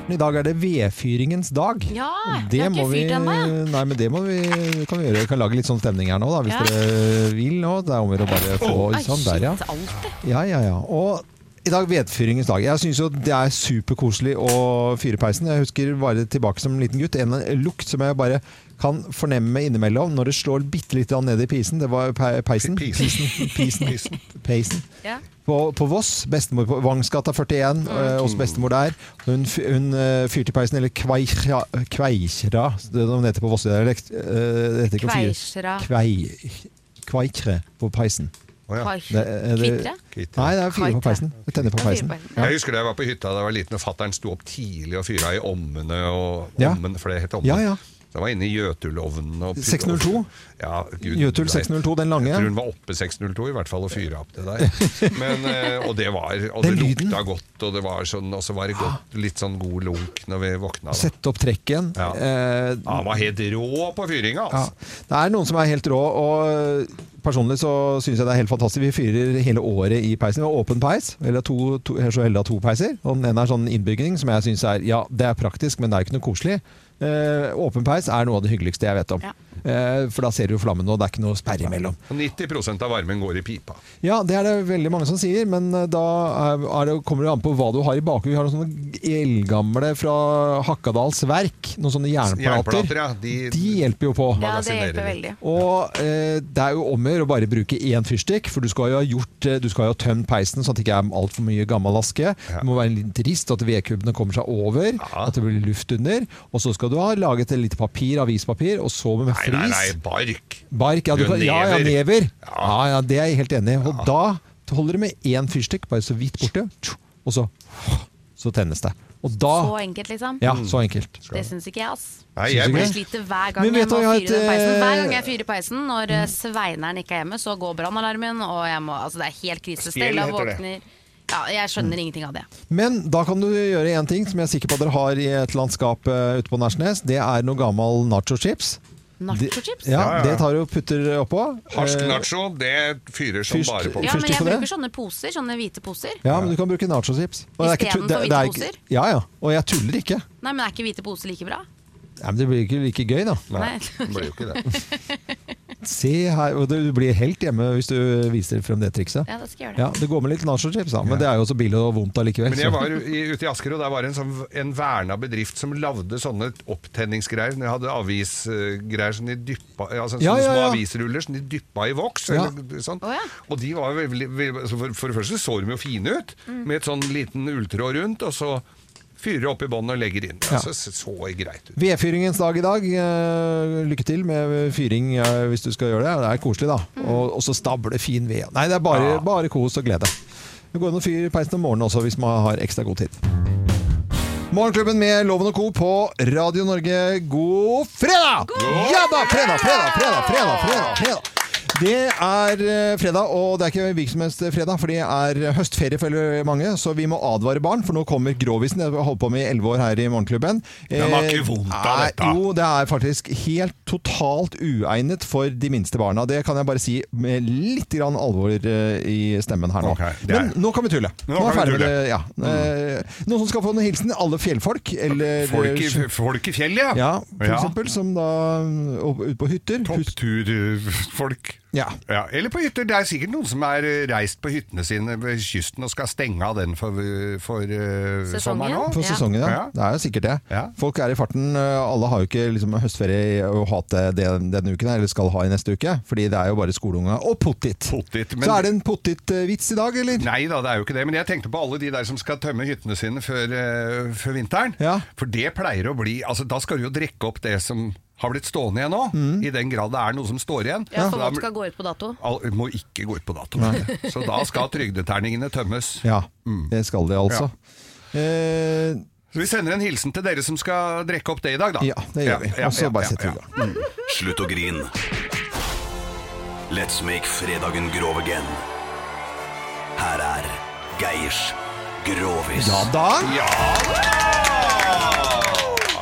S1: I dag er det vedfyringens dag.
S2: Ja,
S1: Det
S2: jeg har ikke
S1: må vi,
S2: fyrt ennå, jeg.
S1: Nei, men det må vi, kan vi gjøre. Vi kan lage litt sånn stemning her nå, da, hvis
S2: Ja.
S1: dere vil. Nå. Det er om å gjøre å bare få sånn der, ja.
S2: Shit, alltid.
S1: Ja, ja, ja. Og i dag vedfyringens dag. Jeg syns jo det er superkoselig å fyre peisen. Jeg husker bare tilbake som liten gutt. En lukt som jeg bare kan fornemme innimellom når det slår bitte litt ned i pisen. Det var pe peisen.
S3: Pisen.
S1: Pisen.
S3: Pisen.
S1: Peisen.
S9: Ja.
S1: På, på Voss, bestemor på Vangsgata 41, eh, hos bestemor der. Hun, fy- hun eh, fyrte peisen, eller kveikra, kveikra det er noe det heter på Voss-dialekt. Eh, det heter ikke å si-
S2: Kveisra.
S1: Kvei, kveikre på peisen.
S3: Å, ja.
S1: Det, eh, det,
S2: Kvitre.
S3: Kvitt.
S1: Nei, det er fyre på
S2: Kveikre.
S1: peisen. Det tenner på peisen.
S2: Fyre på peisen.
S1: Ja.
S3: Jeg husker da jeg var på hytta da jeg var liten, og fattern sto opp tidlig og fyra i ommene og
S1: Ja.
S3: ommen, for det het ommen.
S1: Ja, ja.
S3: Så jeg var inne i Jøtulovnen og
S1: 602?
S3: Ja, gud,
S1: Jøtul
S3: nei.
S1: 602, den lange.
S3: Jeg tror hun var oppe 602 i hvert fall og fyra opp det der. Men, eh, og det var Og det
S1: Den lyden.
S3: lukta godt, og det var sånn Og så var det godt, litt sånn god lunk når vi våkna. da.
S1: Sette opp trekken.
S3: Ja.
S1: Eh,
S3: Ja, Han var helt rå på fyringa,
S1: ja.
S3: altså.
S1: Det er noen som er helt rå, og Personlig så syns jeg det er helt fantastisk. Vi fyrer hele året i peisen. Vi har åpen peis. Eller to, to, jeg er så heldig å ha to peiser. Og den ene er sånn innbygning, som jeg syns er Ja, det er praktisk, men det er jo ikke noe koselig. Eh, åpen peis er noe av det hyggeligste jeg vet om.
S2: Ja.
S1: Eh, for da ser du jo flammen, og det er ikke noe sperre imellom.
S3: 90 av varmen går i pipa.
S1: Ja, det er det veldig mange som sier, men eh, da er er det, kommer det an på hva du har i bakgrunnen. Vi har noen sånne eldgamle fra Hakkadals verk, noen sånne jernplater.
S3: Jernplater, ja. De,
S1: De hjelper jo på.
S2: Ja, det
S3: magasinerer
S2: hjelper
S3: det.
S2: veldig.
S1: Og eh, det er jo om å gjøre å bare bruke én fyrstikk, for du skal jo ha gjort eh, Du skal jo ha tømt peisen sånn at det ikke er altfor mye gammel aske. Det må være en liten rist, at vedkubbene kommer seg over, at det blir luft under. Og så skal du ha laget et lite papir, avispapir, og så med
S3: Nei,
S1: flis.
S3: nei, nei, bark.
S1: Bark, ja, du,
S3: Du,
S1: kan- ja, ja,
S3: never.
S1: never.
S3: Ja.
S1: Ja, ja, det er jeg helt enig i. Og da holder det med én fyrstikk, bare så vidt borte, og så, så tennes det. Og
S2: Så
S1: da
S2: enkelt, liksom.
S1: Ah. Ja, så enkelt.
S2: Det syns ikke jeg, ass.
S3: Nei,
S1: Synes
S3: jeg
S2: Jeg
S1: du ikke?
S3: blir
S2: sliter hver gang
S1: Men
S2: jeg
S1: vet
S2: må
S1: du hva,
S2: fyre
S1: jeg har
S2: den
S1: et,
S2: peisen. Hver gang
S1: eh,
S2: jeg fyrer peisen når eh, Sveineren ikke er hjemme, så går brannalarmen, og jeg må Altså, det er helt krise.
S3: Spjell
S2: Stella
S3: heter det.
S2: våkner Ja, jeg
S1: Mm.
S2: skjønner ingenting av det.
S1: Men da kan du gjøre én ting som jeg er sikker på at dere har i et landskap eh, ute på Nærsnes. Det er noe gammel nachochips.
S2: Nachochips?
S1: Ja,
S3: Ja, ja, ja.
S1: Det tar du og putter oppå.
S3: Harsk
S1: Eh,
S3: nacho, det fyrer som
S1: fyrst-
S3: bare på.
S2: Ja, men
S1: fyrstikk
S2: jeg
S1: på det?
S2: bruker sånne poser, sånne hvite poser.
S1: Ja, men du kan bruke nachochips. Og det er ikke tu-
S2: Istedenfor
S1: det- det er
S2: hvite
S1: ikke-
S2: poser?
S1: Ja, ja. Og jeg tuller ikke.
S2: Nei, men er ikke hvite poser like bra?
S1: Nei, men det blir ikke like gøy, da.
S2: Nei.
S3: Det blir jo ikke det.
S1: Se her, og Du blir helt hjemme hvis du viser frem det trikset.
S2: Ja, det skal jeg gjøre.
S1: Ja, det går med litt nachochips, da. Men det er jo også billig og vondt allikevel.
S3: Men
S1: så-
S3: jeg var i, ute i Asker, og der var det en, sånn, en verna bedrift som lagde sånne opptenningsgreier. De hadde avisgreier som de dyppa altså,
S1: Ja,
S3: Sånne
S1: ja,
S3: små
S1: ja.
S3: avisruller som de dyppa i voks.
S1: Ja.
S3: Eller, sånn.
S2: Å, ja.
S3: Og de var veldig veldig- så for, for det første så de jo fine ut,
S2: Mm.
S3: med et sånn liten ulltråd rundt, og så fyrer opp i bånn og legger inn. Altså, så greit ut.
S1: Vedfyringens dag i dag. Eh, Lykke til med fyring eh, hvis du skal gjøre det. Det er koselig, da.
S3: Mm.
S1: Og, og så stable fin ved. Nei, det er bare, bare kos og glede. Det går an å fyre peisen om morgenen også, hvis man har ekstra god tid. Morgenklubben med Loven og Co. på Radio Norge, god fredag! Ja da! Fredag, fredag, fredag, fredag! fredag, fredag. Det er eh, fredag, og det er ikke hvilken som helst fredag, for det er høstferie for mange, så vi må advare barn, for nå kommer grovisen. Jeg har holdt på med i elleve år her i Morgenklubben. Eh,
S3: Den har ikke vondt av
S1: Nei,
S3: dette.
S1: Jo, det er faktisk helt totalt uegnet for de minste barna. Det kan jeg bare si med litt grann alvor eh, i stemmen her nå.
S3: Ok, det er-
S1: Men nå kan vi tulle. Nå,
S3: kan
S1: er
S3: vi
S1: ferdig med
S3: tulle.
S1: det, ja. Eh, Noen som skal få en hilsen? Alle fjellfolk? Eller, eh,
S3: Folk i, folk i fjellet,
S1: Ja, for eksempel. Som da mm, opp- ute på hytter. Hus-
S3: Toppturfolk.
S1: Ja.
S3: Ja, eller på hytter. Det er sikkert noen som er eh, reist på hyttene sine ved kysten og skal stenge av den for, eh, for eh,
S2: Sesongen?
S3: sommeren òg.
S1: For
S2: Ja.
S1: sesongen, ja.
S3: Ja.
S1: Det er jo sikkert det.
S3: Ja.
S1: Folk er i farten. eh, Alle har jo ikke liksom, høstferie og hatt det den- denne uken, eller skal ha i neste uke. Fordi det er jo bare skoleunga og pottit.
S3: Pottit, men-
S1: Så er det en pottit-vits i dag, eller?
S3: Nei da, det er jo ikke det. Men jeg tenkte på alle de der som skal tømme hyttene sine før, eh, før vinteren.
S1: Ja.
S3: For det pleier å bli Altså, da skal du jo drikke opp det som har blitt stående igjen nå.
S1: Mm.
S3: I den grad det er noe som står igjen.
S2: Ja, for
S3: Da-
S2: vodka går ut på dato.
S3: Al- må ikke gå ut på dato. Så da skal trygdeterningene tømmes.
S1: Ja,
S3: Mm.
S1: det skal det altså. Eh,
S3: Så vi sender en hilsen til dere som skal drikke opp det i dag, da.
S1: ja, det gjør vi. Og så bare setter vi i gang.
S8: Slutt å grin. Let's make fredagen grov again. Her er Geirs Grovis.
S1: Ja da!
S3: Ja da!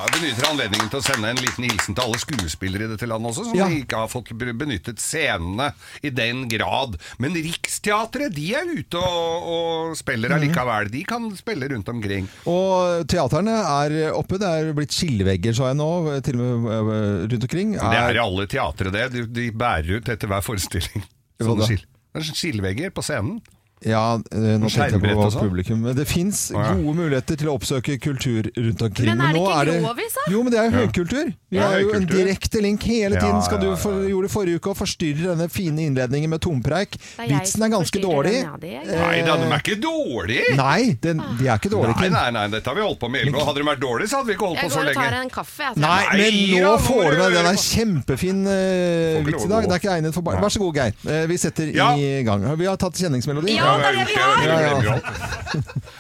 S3: Jeg benytter anledningen til å sende en liten hilsen til alle skuespillere i dette landet også, som
S1: Ja.
S3: ikke har fått b- benyttet scenene i den grad. Men Riksteatret, de er ute og, og spiller
S1: Mhm.
S3: allikevel. De kan spille rundt omkring.
S1: Og teaterne er oppe. Det er blitt skillevegger, sa jeg nå, til og med eh, rundt omkring.
S3: Det er i alle teatre, det. De, de bærer ut etter hver forestilling.
S1: Hva da?
S3: Sånne skil. Det er sånne skillevegger på scenen.
S1: Ja, eh, nå tenkte jeg
S3: Skjermbrett
S1: på
S3: og sånn.
S1: publikum. Men det fins
S3: ja.
S1: gode muligheter til å oppsøke kultur rundt omkring.
S2: Men er det
S1: nå
S2: ikke grovis, da?
S1: Jo, men det er jo høykultur. Vi
S3: Ja,
S1: har jo en
S3: høykultur.
S1: direkte link hele
S3: Ja,
S1: tiden. Skal du
S3: ja, ja,
S1: for, gjorde forrige uke og forstyrrer denne fine innledningen med tompreik.
S2: er jeg
S1: Vitsen er
S2: som
S1: ganske
S2: forstyrrer
S1: dårlig.
S2: den, ja, det er
S1: Eh,
S3: Nei da, de er ikke dårlige!
S1: Nei, den, de er ikke dårlige.
S3: Nei,
S1: Kim.
S3: nei, nei, dette har vi holdt på med i elleve år. Hadde de vært dårlige, så hadde vi ikke
S1: Eh,
S3: holdt
S2: Jeg
S3: på så
S2: går og
S3: lenge.
S2: tar en kaffe, jeg.
S1: Nei,
S3: Nei,
S1: men nå
S3: ja,
S1: får du
S3: hvor-
S1: med den der kjempefin eh,
S3: Får ikke
S1: vits
S3: lov
S1: i
S3: å
S1: dag.
S3: gå.
S1: Det er ikke egnet for barn. Vær så god, Geir. Eh, vi setter
S3: Ja.
S1: i gang. Vi har tatt kjenningsmelodi.
S2: Ja, det er det vi har!
S3: Ja, ja, ja.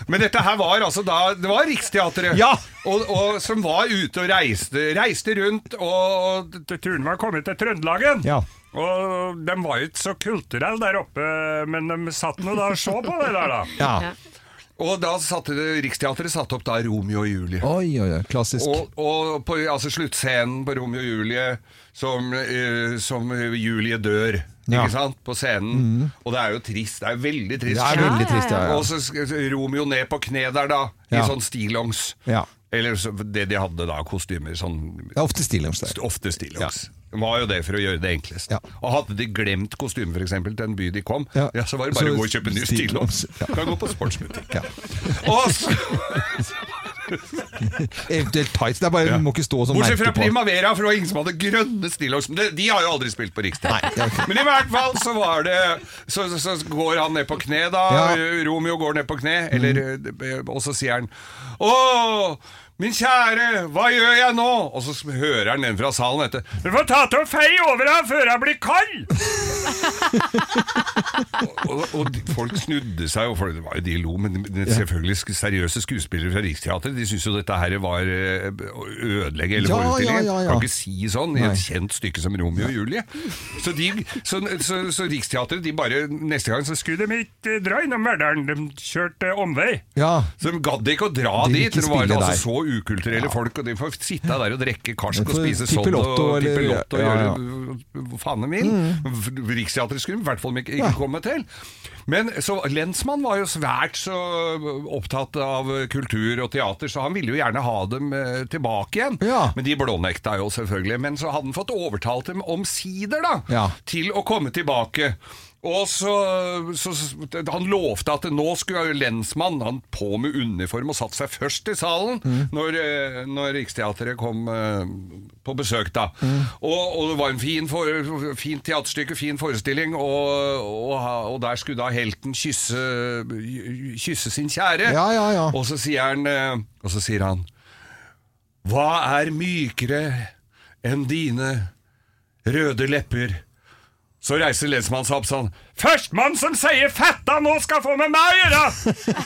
S3: Men dette her var altså da Det var Riksteatret
S1: Ja!
S3: og, og, som var ute og reiste, reiste rundt, og t- turen var kommet til Trøndelagen.
S1: Ja.
S3: Og de var jo ikke så kulturelle der oppe, men de satt nå da og så på det der, da.
S1: Ja.
S2: Ja.
S3: Og da satte det, Riksteatret satte opp da Romeo og Julie.
S1: Oi, oi, oi. Klassisk.
S3: Og, og på altså, sluttscenen på Romeo og Julie, som, eh, som Julie dør,
S1: Ja. Mm.
S3: ikke sant, på scenen. Og det er jo trist, det er jo veldig trist.
S1: det er veldig
S2: ja,
S1: trist, ja. ja.
S3: Og så sk- Romeo ned på kne der da, i
S1: Ja.
S3: sånn stillongs.
S1: Ja.
S3: Eller så, det de hadde da, kostymer, sånn
S1: Det er ofte stillongs der.
S3: Ofte stillongs. De var jo det for å gjøre det enklest.
S1: Ja.
S3: Og hadde de glemt kostyme for eksempel, til en by de kom, ja.
S1: Ja.
S3: så var det bare
S1: Så
S3: å gå og kjøpe ny
S1: stillongs.
S3: stillongs.
S1: Ja.
S3: Kan gå på sportsbutikk.
S1: Ja.
S3: Og så,
S1: Eventuelt tights. Det er bare,
S3: Ja.
S1: Du må ikke stå som
S3: bortsett
S1: merke
S3: fra
S1: på.
S3: Primavera, for det var ingen som hadde grønne stillongs. Men det- De har jo aldri spilt på
S1: Nei, det
S3: Riksdagen.
S1: er ikke-
S3: Men i hvert fall så var det Så, så, så går han ned på kne, da.
S1: Ja. Mm.
S3: Romeo går ned på kne, eller, og så sier han Å, min kjære, hva gjør jeg nå? Og så hører han den fra salen etter. Du får ta til å feie over ham før han blir kald! og, og de, folk snudde seg, og folk, det var jo de lo, men men selvfølgelig sk- seriøse skuespillere fra Riksteatret De syntes jo dette her var eh, å ødelegge hele
S1: Ja,
S3: forestillingen.
S1: ja, ja, ja.
S3: Kan ikke si sånn i
S1: Nei.
S3: et kjent stykke som Romeo og Julie. Så, de, så, så, så Riksteatret, de bare neste gang så skulle de ikke dra innom Verdalen, de kjørte omvei.
S1: Ja.
S3: Så de gadd ikke å dra
S1: De vil
S3: dit.
S1: ikke
S3: Det var
S1: spille
S3: altså
S1: der.
S3: så ukulturelle folk, og de får sitte der og drikke karsk
S1: De
S3: og
S1: får
S3: spise sodd
S1: Pippelotto
S3: og
S1: eller-
S3: pippelotto og
S1: ja, Mm. ja.
S3: gjøre hva faen de vil. Riksteatret skulle de i hvert fall ikke, ikke komme til. Men så Lensmann var jo svært så opptatt av kultur og teater, så han ville jo gjerne ha dem eh, tilbake igjen.
S1: Ja.
S3: Men de blånekta jo selvfølgelig. Men så hadde han fått overtalt dem omsider, da,
S1: Ja.
S3: til å komme tilbake. Og så, så, så Han lovte at nå skulle lensmannen Han på med uniform og satte seg først i salen når, eh, når Riksteatret kom eh, på besøk. da og, og det var en fin, for, fint teaterstykke, fin forestilling, og, og, og der skulle da helten kysse, kysse sin kjære.
S1: Ja, ja, ja.
S3: Og så sier han, eh, og så sier han Hva er mykere enn dine røde lepper? Så reiser lensmannen seg opp sånn Førstemann som sier 'fetta nå skal få med meg å gjøre'!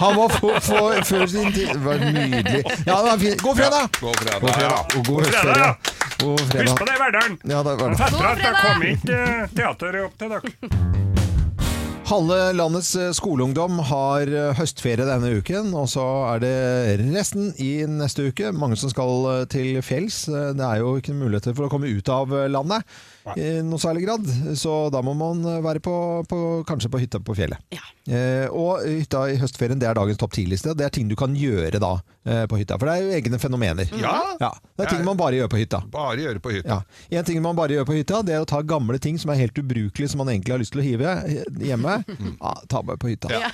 S1: Han var for, for, før sin tid Det var nydelig. Ja, det var fint. God fredag!
S3: Ja, god fredag, ja.
S1: Og god
S3: God fredag,
S1: høstferie.
S3: ja.
S1: God
S3: Husk på
S1: fredag.
S3: det i Verdalen!
S1: Ja, det var det.
S2: God fredag!
S3: kommer ikke eh, teateret opp til dere.
S1: Halve landets eh, skoleungdom har eh, høstferie denne uken, og så er det resten i neste uke. Mange som skal eh, til fjells. Eh, Det er jo ikke muligheter for å komme ut av eh, landet i noe særlig grad, så da må man eh, være på, på kanskje på hytta på fjellet.
S2: Ja.
S1: Eh, og hytta i høstferien det er dagens topp 10-liste. og Det er ting du kan gjøre da eh, på hytta, for det er jo egne fenomener.
S3: Ja.
S1: Det er ting man bare gjør på hytta.
S3: Bare gjøre på hytta.
S1: Ja. En ting man bare gjør på hytta, det er å ta gamle ting som er helt ubrukelige, som man egentlig har lyst til å hive hjemme. Ja, ta med på hytta. Ja.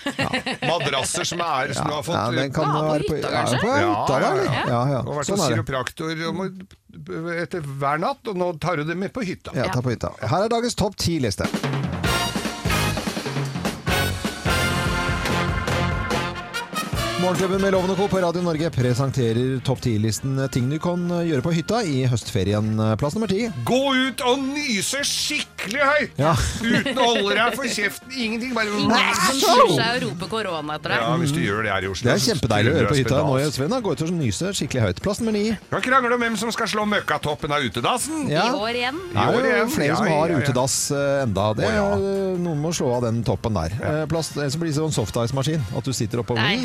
S3: Madrasser som er som du har
S1: Ja,
S3: fått eh,
S1: den kan
S2: Ja, på
S1: være på
S2: hytta,
S1: ja,
S2: kanskje?
S1: på hytta, da, eller? Ja, ja.
S3: Og vært
S1: Sånn
S3: hos
S1: er det.
S3: kiropraktor og må- etter hver natt, og nå tar du det med på hytta.
S1: Ja, ta på hytta. Her er dagens topp ti-liste. Morgenklubben med Loven og Co. på Radio Norge presenterer topp ti-listen ting du kan gjøre på hytta i høstferien. Plass nummer ti.
S3: Gå ut og nyse skikkelig høyt!
S1: Ja.
S3: Uten å holde deg for kjeften. Ingenting. Bare
S2: Ingen som
S1: sånn!
S2: snur seg og roper korona etter deg.
S3: Ja, hvis du gjør det her i Oslo.
S1: Det er
S3: så
S1: kjempedeilig å
S3: tror
S1: gjøre
S3: du
S1: på
S3: er
S1: hytta nå i
S3: spedalsk.
S1: høstferien. da. Gå ut og nyse skikkelig høyt. Plass nummer ni.
S3: Kan krangle om hvem som skal slå møkkatoppen av utedassen.
S1: Ja.
S2: I år igjen.
S1: Det
S3: I år
S1: er jo
S3: igjen.
S1: flere som
S3: Ja,
S1: har
S3: ja, ja.
S1: utedass eh, enda.
S3: Å,
S1: Det er, eh,
S3: ja.
S1: Noen må slå av den toppen der. Eh, Plass, ellers blir det sånn softice-maskin. At du sitter oppå
S2: Nei,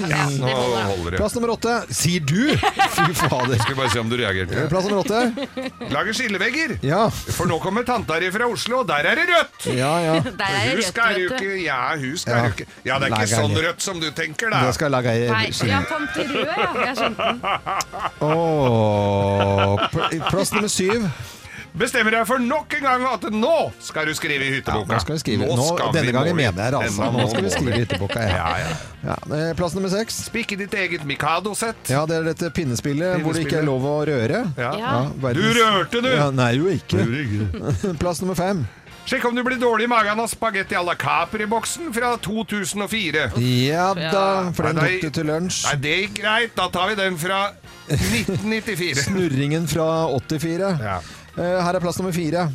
S3: Nå
S2: ja,
S1: Mm.
S2: det holder. da.
S3: holder det.
S1: Plass nummer åtte. Sier du! Fy fader.
S3: Skal vi bare se om du reagerte.
S1: Plass nummer åtte.
S3: Lager skillevegger.
S1: Ja.
S3: For nå kommer tanta di fra Oslo, og der er det rødt!
S1: Ja, ja.
S2: Der er det
S3: Husk er jo
S2: rødt, vet du.
S3: ikke Ja, husk er jo ikke Ja, det er ikke
S1: Lager
S3: sånn
S1: det.
S3: rødt som du tenker,
S1: Det
S3: da.
S1: skal jeg lage
S2: Nei,
S1: ei
S2: ja,
S1: skinne.
S2: tante rød, ja. Jeg skjønte den.
S1: Åh, pl- Plass nummer syv.
S3: Bestemmer deg for nok en gang at nå skal du skrive i
S1: Ja,
S3: hytteboka.
S1: nå skal vi skrive. Nå,
S3: skal vi
S1: denne gangen
S3: måle.
S1: mener jeg rasa.
S3: Denne
S1: Nå skal vi
S3: måler.
S1: skrive i hytteboka. Ja.
S3: Ja, ja.
S1: Ja. eh, Plass nummer seks.
S3: Spikke ditt eget Mikado-sett.
S1: Ja, det er dette pinnespillet hvor det ikke
S3: Pinnespillet.
S1: er lov å røre.
S2: Ja.
S3: Du
S1: verdens-
S3: rørte, du!
S1: Ja, nei, jo ikke. Plass nummer fem.
S3: Sjekk om du blir dårlig i magen av spagetti à la Capri-boksen fra 2004.
S1: Ja da, for den
S3: Nei, nei.
S1: tok du til lunsj.
S3: Nei, det gikk greit. Da tar vi den fra 1994.
S1: Snurringen fra 84.
S3: Ja.
S1: Eh, Her er plass nummer fire.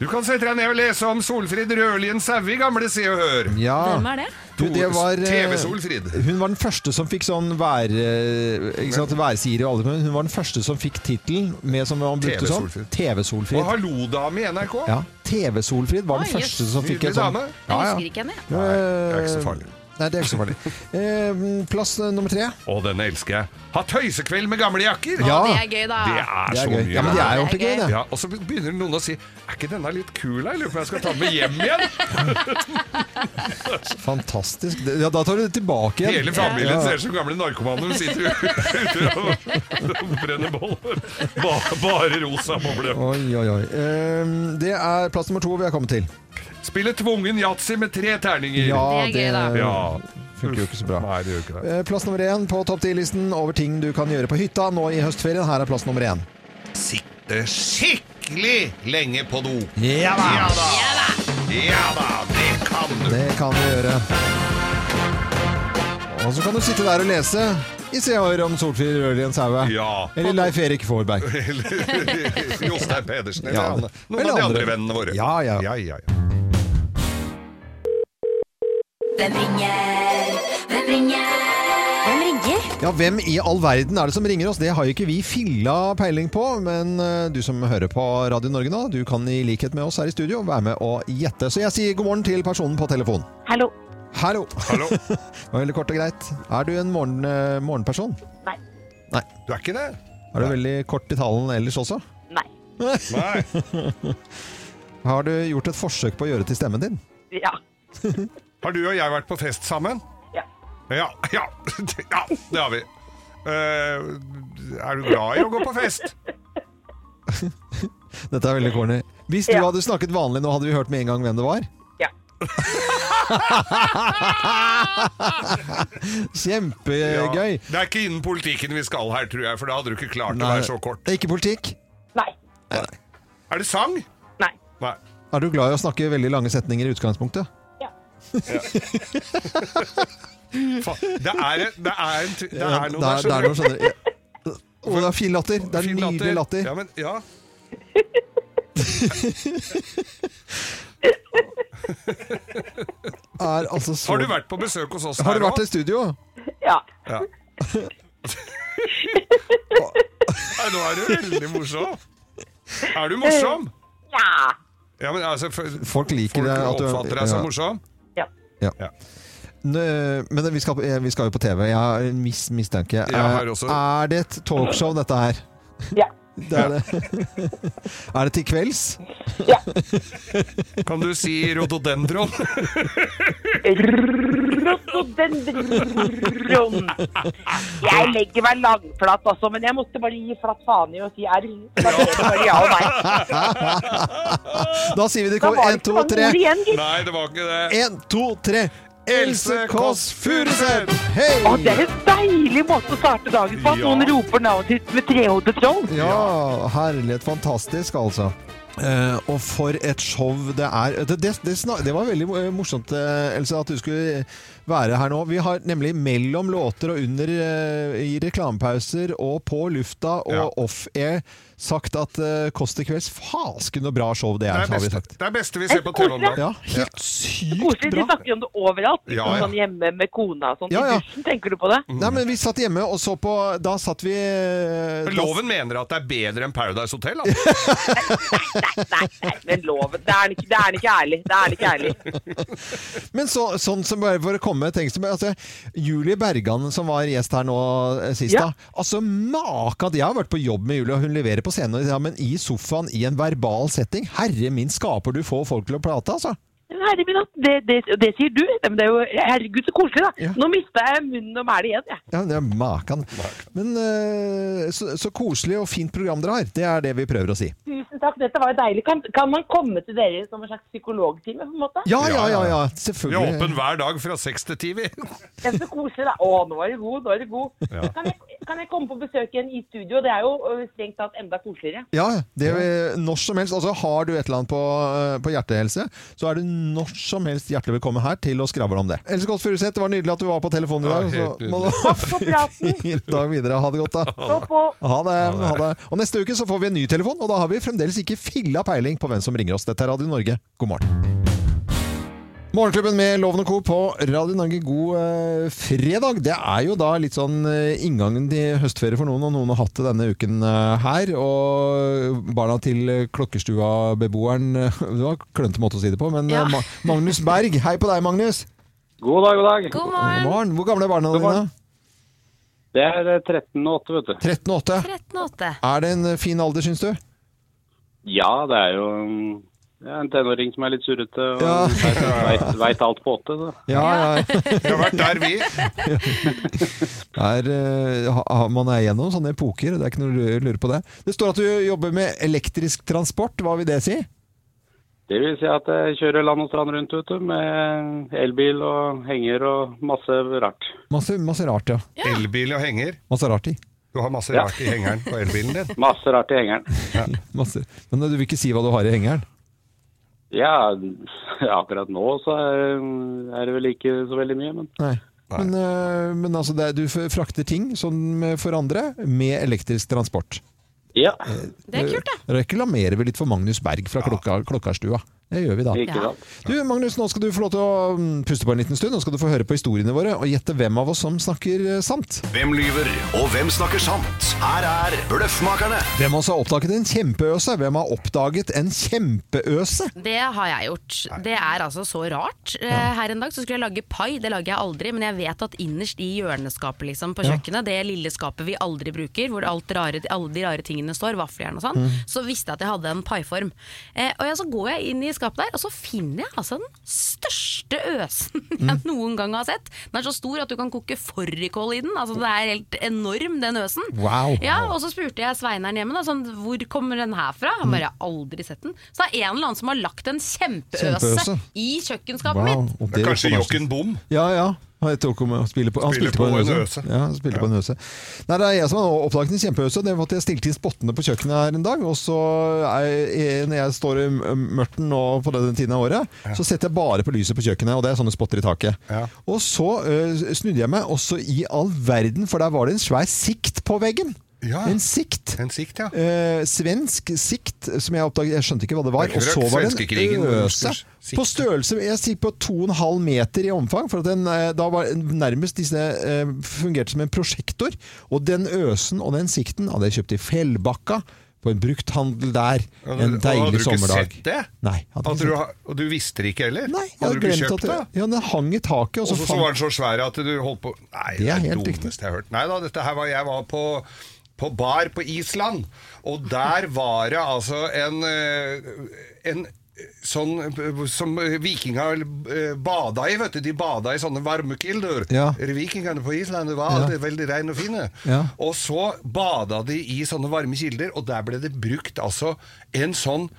S3: Du kan sette deg ned og lese om Solfrid Rødlien Saue i gamle Se og Hør.
S1: Ja.
S2: Hvem er det?
S1: Du, det var eh,
S3: TV Solfrid.
S1: Hun var den første som fikk sånn vær... eh, Ikke sant, værsiri og alle men Hun var den første som fikk tittelen med som han brukte
S3: TV
S1: sånn.
S3: Solfrid. Og
S1: TV-Solfrid.
S3: Hallo-dame i NRK.
S1: Ja, TV-Solfrid var den
S2: Oi,
S1: første som fikk
S3: Nydelig
S1: en sånn.
S3: dame.
S2: Jeg
S1: Ja, ja.
S2: husker ikke henne, jeg.
S3: Nei, det er ikke så farlig.
S1: Eh, Nei, det er ikke så farlig. Eh, plass eh, nummer tre.
S3: Og denne elsker jeg. Ha tøysekveld med gamle jakker!
S1: Ja.
S2: Å, det er gøy, da.
S3: Det er
S1: Det
S3: så
S1: er gøy.
S3: mye.
S1: Ja, men
S2: Ja,
S1: det er jo
S2: det er
S1: ordentlig
S2: gøy.
S1: gøy, det.
S3: Ja, og så begynner noen å si Er ikke denne litt kul, da? Jeg lurer på om jeg skal ta den med hjem igjen.
S1: Fantastisk. Det- Ja, da tar du det tilbake igjen.
S3: Hele familien
S1: Ja.
S3: ser ut som gamle narkomane som sitter ute og- og brenner bål. Bare, bare rosa boble.
S1: Oi, oi, oi. Eh, det er plass nummer to vi er kommet til.
S3: Spille tvungen yatzy med tre terninger.
S1: Ja,
S2: Det er gøy, da.
S3: Ja.
S1: funker jo ikke så bra.
S3: Nei, det gjør ikke det.
S1: Eh, Plass nummer én på topp 10-listen over ting du kan gjøre på hytta nå i høstferien. Her er plass nummer én.
S3: Sitte skikkelig lenge på do.
S1: Ja
S3: Ja da! Ja da, det kan du.
S1: Det kan du gjøre. Og så kan du sitte der og lese i Se og Hør om Solfrid Rørlien Saue.
S3: Ja.
S1: Eller Leif Erik Forberg.
S3: Eller Jostein Pedersen eller
S1: Ja.
S3: andre. noen
S1: Eller
S3: av de
S1: andre.
S3: andre vennene våre.
S1: Ja, ja.
S3: ja, ja, ja.
S10: Hvem ringer? Hvem ringer? Hvem ringer?
S1: Ja, Hvem i all verden er det som ringer oss? Det har jo ikke vi filla peiling på. Men eh, du som hører på Radio Norge nå, du kan i likhet med oss her i studio være med og gjette. Så jeg sier god morgen til personen på telefonen.
S4: Hallo.
S1: Hallo.
S3: Hallo?
S1: Veldig kort og greit. Er du en morgen, eh, morgenperson?
S3: Du er ikke det?
S1: Er du veldig kort i talen ellers også?
S4: Nei.
S3: Nei.
S1: Har du gjort et forsøk på å gjøre til stemmen din?
S4: Ja.
S3: Har du og jeg vært på fest sammen?
S4: Ja.
S3: Ja, ja, ja det har vi. Eh, er du glad i å gå på fest?
S1: Dette er veldig corny. Hvis du
S4: Ja.
S1: hadde snakket vanlig nå, hadde vi hørt med en gang hvem det var?
S4: Ja.
S1: Kjempegøy.
S3: Det er ikke innen politikken vi skal her, tror jeg, for da hadde du ikke klart å
S1: Nei,
S3: være så kort.
S1: Ikke politikk.
S4: Nei.
S3: Er det sang?
S4: Nei.
S3: Nei.
S1: Er du glad i å snakke veldig lange setninger i utgangspunktet?
S3: Fa- Det er, en- det er, en, det
S1: Ja,
S3: er noe der,
S1: det er- det er
S3: skjønner
S1: noe sånn ja. Å, det er fin latter. Det er
S3: Fin
S1: nydelig latter.
S3: Ja, men, ja.
S1: Er altså så...
S3: Har du vært på besøk hos oss
S1: Har
S3: her
S1: du vært
S3: også?
S1: i studio?
S4: Ja.
S3: Nei, nå er du veldig morsom. Er du morsom?
S4: Ja.
S3: Ja, men altså, f-
S1: Folk liker
S3: folk
S1: det at du-
S3: oppfatter deg som
S1: ja.
S3: morsom.
S1: Nø, Men vi skal, eh, vi skal jo på TV. Jeg har en mis, mistanke.
S3: Jeg har
S1: Er-
S3: også-
S1: Er det et talkshow, dette her?
S4: Ja.
S1: Det er, det. er det til kvelds?
S3: Kan du si rhododendron?
S4: Rhododendron. Jeg legger meg langflat også, men jeg måtte bare gi flatt faen i å si R. Da ble det bare ja og nei.
S1: Da sier vi det
S4: Da
S1: kommer.
S4: var det
S1: Én,
S4: ikke
S1: to,
S4: mange
S1: tre.
S4: ord igjen, gitt.
S3: Nei, det var ikke det.
S1: Én, to, tre.
S3: Else Kåss Furuseth!
S1: Hei!
S4: Å, det er en deilig måte å starte dagen på, at
S3: Ja.
S4: noen roper navnet ditt med trehodet troll.
S1: Ja, herlighet. Fantastisk, altså. Eh, og for et show det er. Det, det, det, snak- det var veldig eh, morsomt, eh, Else, at du skulle være her nå. Vi har nemlig mellom låter og under eh, i reklamepauser og på lufta og
S3: Ja.
S1: off-air sagt at eh, Kåss til kvelds Fasken så bra show det
S3: Det
S1: er,
S3: er
S1: har vi
S3: beste,
S1: sagt.
S3: det er beste vi ser på TV om dagen.
S1: Ja, helt sykt
S4: Koselig. De
S1: bra.
S4: snakker jo om det overalt.
S3: Ja,
S4: liksom
S3: ja.
S4: Sånn hjemme med kona og sånn.
S1: Ja,
S4: I
S1: ja.
S4: dusjen, tenker du på det?
S1: Nei, men vi satt hjemme og så på Da satt vi eh,
S3: Men
S1: da-
S3: Loven mener at det er bedre enn Paradise Hotel. Altså.
S4: Nei, nei, nei, men loven. Det er den ikke, det er den ikke ærlig. Det er den ikke ærlig.
S1: Men så, sånn som bare for å komme tenk, som- altså, Julie Bergan som var gjest her nå eh, sist
S4: Ja.
S1: da. Altså maka til Jeg har vært på jobb med Julie, og hun leverer på scenen. og- Ja, men i sofaen, i en verbal setting. Herre min, skaper du få folk til å prate, altså?
S4: Men Herre min, hatt, det, det, det sier du. Nei, Men det er jo, herregud, så koselig, da.
S1: Ja.
S4: Nå mista jeg munnen og mælet igjen, jeg.
S1: Ja, det er makan. Men eh, så, så koselig og fint program dere har. Det er det vi prøver å si.
S4: Tusen takk, dette var jo deilig. Kan, kan man komme til dere som en slags psykologtime, på en måte?
S1: Ja, ja,
S3: Ja,
S1: ja.
S3: ja,
S1: ja
S3: Vi er åpen
S1: selvfølgelig.
S3: hver dag fra seks til ti. vi.
S4: Det er så koselig, da. Å, nå er du god, nå er du god. Kan, jeg, kan jeg komme på besøk igjen i studio? Det er jo ø, strengt tatt enda koseligere.
S1: Ja, det er, Når som helst. Altså, har du et eller annet på, eh, på hjertet, Else, så er du når som helst hjertelig velkommen her til å skravle om det. Else Kåss Furuseth, det var nydelig at du var på telefonen i
S3: Ja,
S1: dag.
S3: helt
S1: så må
S3: nydelig.
S1: du-
S4: Takk for praten.
S1: Fin dag videre. Ha det godt, da.
S4: Stå på.
S1: Ha det, ha det. Og neste uke så får vi en ny telefon, og da har vi fremdeles ikke filla peiling på hvem som ringer oss. Dette er Radio Norge. God morgen. Morgenklubben med Loven og Co. på Radio Norge, god eh, fredag. Det er jo da litt sånn eh, inngangen til høstferie for noen, og noen har hatt det denne uken eh, her. Og barna til eh, klokkestua-beboeren eh, Det var klønete måte å si det på, men eh,
S2: Ja.
S1: Ma- Magnus Berg. Hei på deg, Magnus.
S11: God dag, god dag.
S2: God
S1: God morgen. Hvor gamle er barna dine?
S11: Det er eh, 13 og 8, vet du.
S1: 13 og 8.
S2: 13,8.
S1: Er det en fin alder, syns du?
S11: Ja, det er jo mm, det er en tenåring som er litt surrete og
S1: Ja.
S11: ja. veit alt på åtte. Så.
S1: Ja, ja.
S3: Vi har vært der, vi.
S1: Er, eh, ha- ha- man er gjennom sånne epoker, det er ikke noe å lure på det. Det står at du jobber med elektrisk transport, hva vil det si?
S11: Det vil si at jeg kjører land og strand rundt vet du, med elbil og henger og masse rart.
S1: Masse, masse rart, ja.
S3: Elbil og henger.
S1: Masse rart i.
S3: Du har masse
S11: Ja.
S3: rart i hengeren på elbilen din.
S11: Masse rart i hengeren.
S1: Masse. Men eh, du vil ikke si hva du har i hengeren?
S11: Ja, akkurat nå så er, er det vel ikke så veldig mye, men
S1: Nei. Men, eh, men altså, det er, du f- frakter ting som eh, for andre med elektrisk transport.
S11: ja.
S1: Eh,
S2: Det er kult, det.
S1: Reklamerer vi litt for Magnus Berg fra klokka, Klokkarstua. Det gjør vi da.
S11: Ikke sant.
S1: Du Magnus, nå skal du få lov til å mm, puste på en liten stund. Nå skal du få høre på historiene våre og gjette hvem av oss som snakker eh, sant.
S8: Hvem lyver, og hvem snakker sant? Her er Bløffmakerne.
S1: Hvem av oss har oppdaget en kjempeøse? Hvem har oppdaget en kjempeøse?
S2: Det har jeg gjort. Det er altså så rart. Eh, Her en dag så skulle jeg lage pai, det lager jeg aldri, men jeg vet at innerst i hjørneskapet liksom, på
S12: Ja.
S2: kjøkkenet, det lille skapet vi aldri bruker, hvor alt rare, alle de rare tingene står, vaffeljern og sånn,
S12: Mm.
S2: så visste jeg at jeg hadde en paiform. Eh, og ja, så går jeg inn i skapet der, og så finner jeg altså den største øsen jeg
S12: Mm.
S2: noen gang har sett. Den er så stor at du kan koke fårikål i den, altså det er helt enorm den øsen.
S12: Wow.
S2: Ja, og så spurte jeg Sveineren hjemme da, sånn, hvor kommer den her fra? Han bare, jeg har aldri sett den. Så det er en eller annen som har lagt en kjempeøse,
S1: Kjempeøse.
S2: i kjøkkenskapet mitt.
S1: og
S3: Det er kanskje
S1: var fantastisk.
S3: Jokken Bom?
S1: Ja, ja. Han tok om å spille på, han
S3: Spiller
S1: spilte på,
S3: på
S1: en
S3: en øse.
S1: øse. Ja, han spilte på en øse. Nei, det er jeg som har oppdaget en kjempeøse. Det var at jeg stilte inn spottene på kjøkkenet her en dag. Og så er jeg, når jeg står i mørten nå på denne tiden av året, så setter jeg bare på lyset på kjøkkenet. Og det er sånne spotter i taket. Og så ø, snudde jeg meg også i all verden, for der var det en svær sikt på veggen. En sikt. Eh, svensk sikt, som jeg oppdaget Jeg skjønte ikke hva det var.
S3: Det er
S1: Og
S3: ikke
S1: så
S3: rart
S1: var det
S3: svenskekrigen
S1: en
S3: var
S1: øse.
S3: norskers sikt.
S1: På størrelse Jeg sier på 2,5 meter i omfang, for at den, eh, da var nærmest disse eh, fungerte som en prosjektor. Og den øsen og den sikten hadde jeg kjøpt i Fjellbakka, på en brukthandel der,
S3: Ja,
S1: en
S3: og
S1: deilig
S3: Hadde
S1: sommerdag.
S3: du ikke sett det?
S1: Nei, hadde ikke
S3: Hadde du,
S1: sett det.
S3: ha- og du visste det ikke heller? Nei,
S1: Jeg
S3: hadde du
S1: hadde
S3: ikke
S1: glemt
S3: kjøpt
S1: at
S3: det?
S1: det, ja, den hang i taket, og
S3: Og
S1: så
S3: så
S1: fant
S3: var den så svær at du holdt på Nei,
S1: Det
S3: det
S1: er
S3: er det
S1: helt
S3: dummeste jeg har hørt. Nei da, dette her var Jeg var på på bar på Island, og der var det altså en eh, en Sånn eh, som vikinger eh, bada i, vet du. De bada i sånne varmekilder.
S1: Ja.
S3: Vikingene på Island det var
S1: Ja.
S3: alltid veldig reine og fine.
S1: Ja.
S3: Og så bada de i sånne varme kilder, og der ble det brukt altså en sånn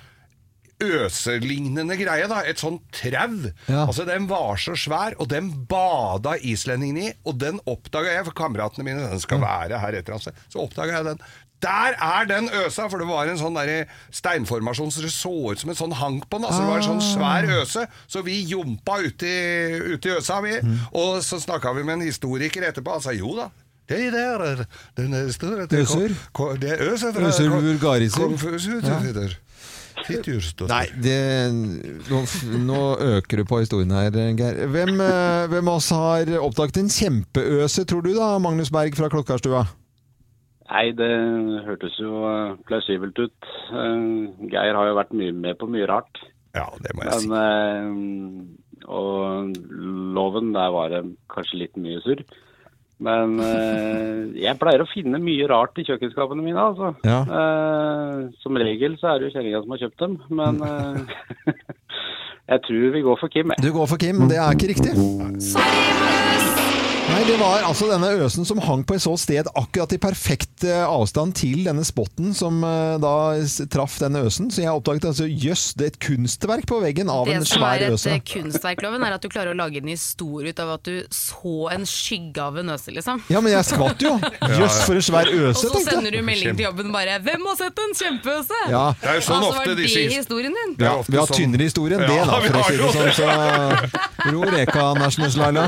S3: øselignende greie, da. Et sånn trau.
S1: Ja.
S3: Altså, den var så svær, og den bada islendingene i, og den oppdaga jeg, for kameratene mine den skal være her et eller annet sted, så oppdaga jeg den. Der er den øsa! For det var en sånn der steinformasjon så det så ut som en sånn hank på den. Altså, det var en sånn svær øse, så vi jumpa uti ut i øsa, vi. Og så snakka vi med en historiker etterpå, han sa jo da. Det der er den er store det er ko-
S1: Øser?
S3: ko- Det er øser fra
S1: Øser
S3: ko-
S1: vulgariser?
S3: kong Fusu,
S1: Ja.
S3: sitter. Sitter.
S1: Nei, det, nå, nå øker du på historien her, Geir. Hvem, eh, hvem av oss har oppdaget en kjempeøse, tror du da, Magnus Berg fra Klokkarstua?
S11: Nei, det hørtes jo eh, plausibelt ut. Eh, Geir har jo vært mye med på mye rart.
S3: Ja, det må
S11: jeg si. og loven, der var det kanskje litt mye surr. Men eh, jeg pleier å finne mye rart i kjøkkenskapene mine, altså.
S1: Ja.
S11: Eh, som regel så er det jo kjerringa som har kjøpt dem, men eh, jeg tror vi går for Kim. jeg.
S1: Du går for Kim, det er ikke riktig. Nei, det var altså denne øsen som hang på et sånt sted akkurat i perfekt eh, avstand til denne spotten som eh, da s- traff denne øsen. Så jeg oppdaget altså jøss, det er et kunstverk på veggen av
S2: Det
S1: en
S2: som
S1: svær
S2: er et
S1: øse.
S2: eh, kunstverkloven, er at du klarer å lage en historie ut av at du så en skygge av en øse, liksom.
S1: Ja, men jeg skvatt jo! Jøss, for en svær
S2: Og
S1: øse,
S2: så
S1: tenkte
S2: sender du
S1: jeg.
S2: melding til jobben bare 'Hvem har sett en kjempeøse?'
S1: Ja. Det er jo sånn
S2: altså,
S1: ofte
S2: var det
S1: disse-
S2: historien din?
S1: Ja, vi
S11: sånn-
S1: har tynnere historie enn det,
S3: Ja,
S1: da,
S3: vi
S1: for å
S3: har
S1: si
S3: jo
S1: det sånn.
S3: det.
S1: Så ro reka, Nationals Laila.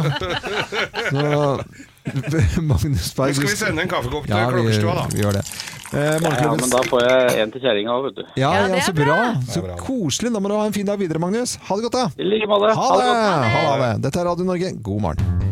S1: Så Magnus
S11: Nå skal
S1: Berg
S11: vi sende en kaffekopp til
S1: vi-
S11: Klokkerstua, da.
S1: Vi gjør det. Eh,
S11: Ja, ja,
S1: Morgenklubben-
S11: men da får jeg en til kjerringa òg, vet du.
S1: Ja, ja, så bra. Så
S11: Det er bra.
S1: koselig. Da må du ha en fin dag videre, Magnus. Ha det godt, da.
S11: I like måte.
S1: Ha
S11: Ha det
S1: det.
S11: godt.
S1: Ha det. Dette er Radio Norge, god morgen.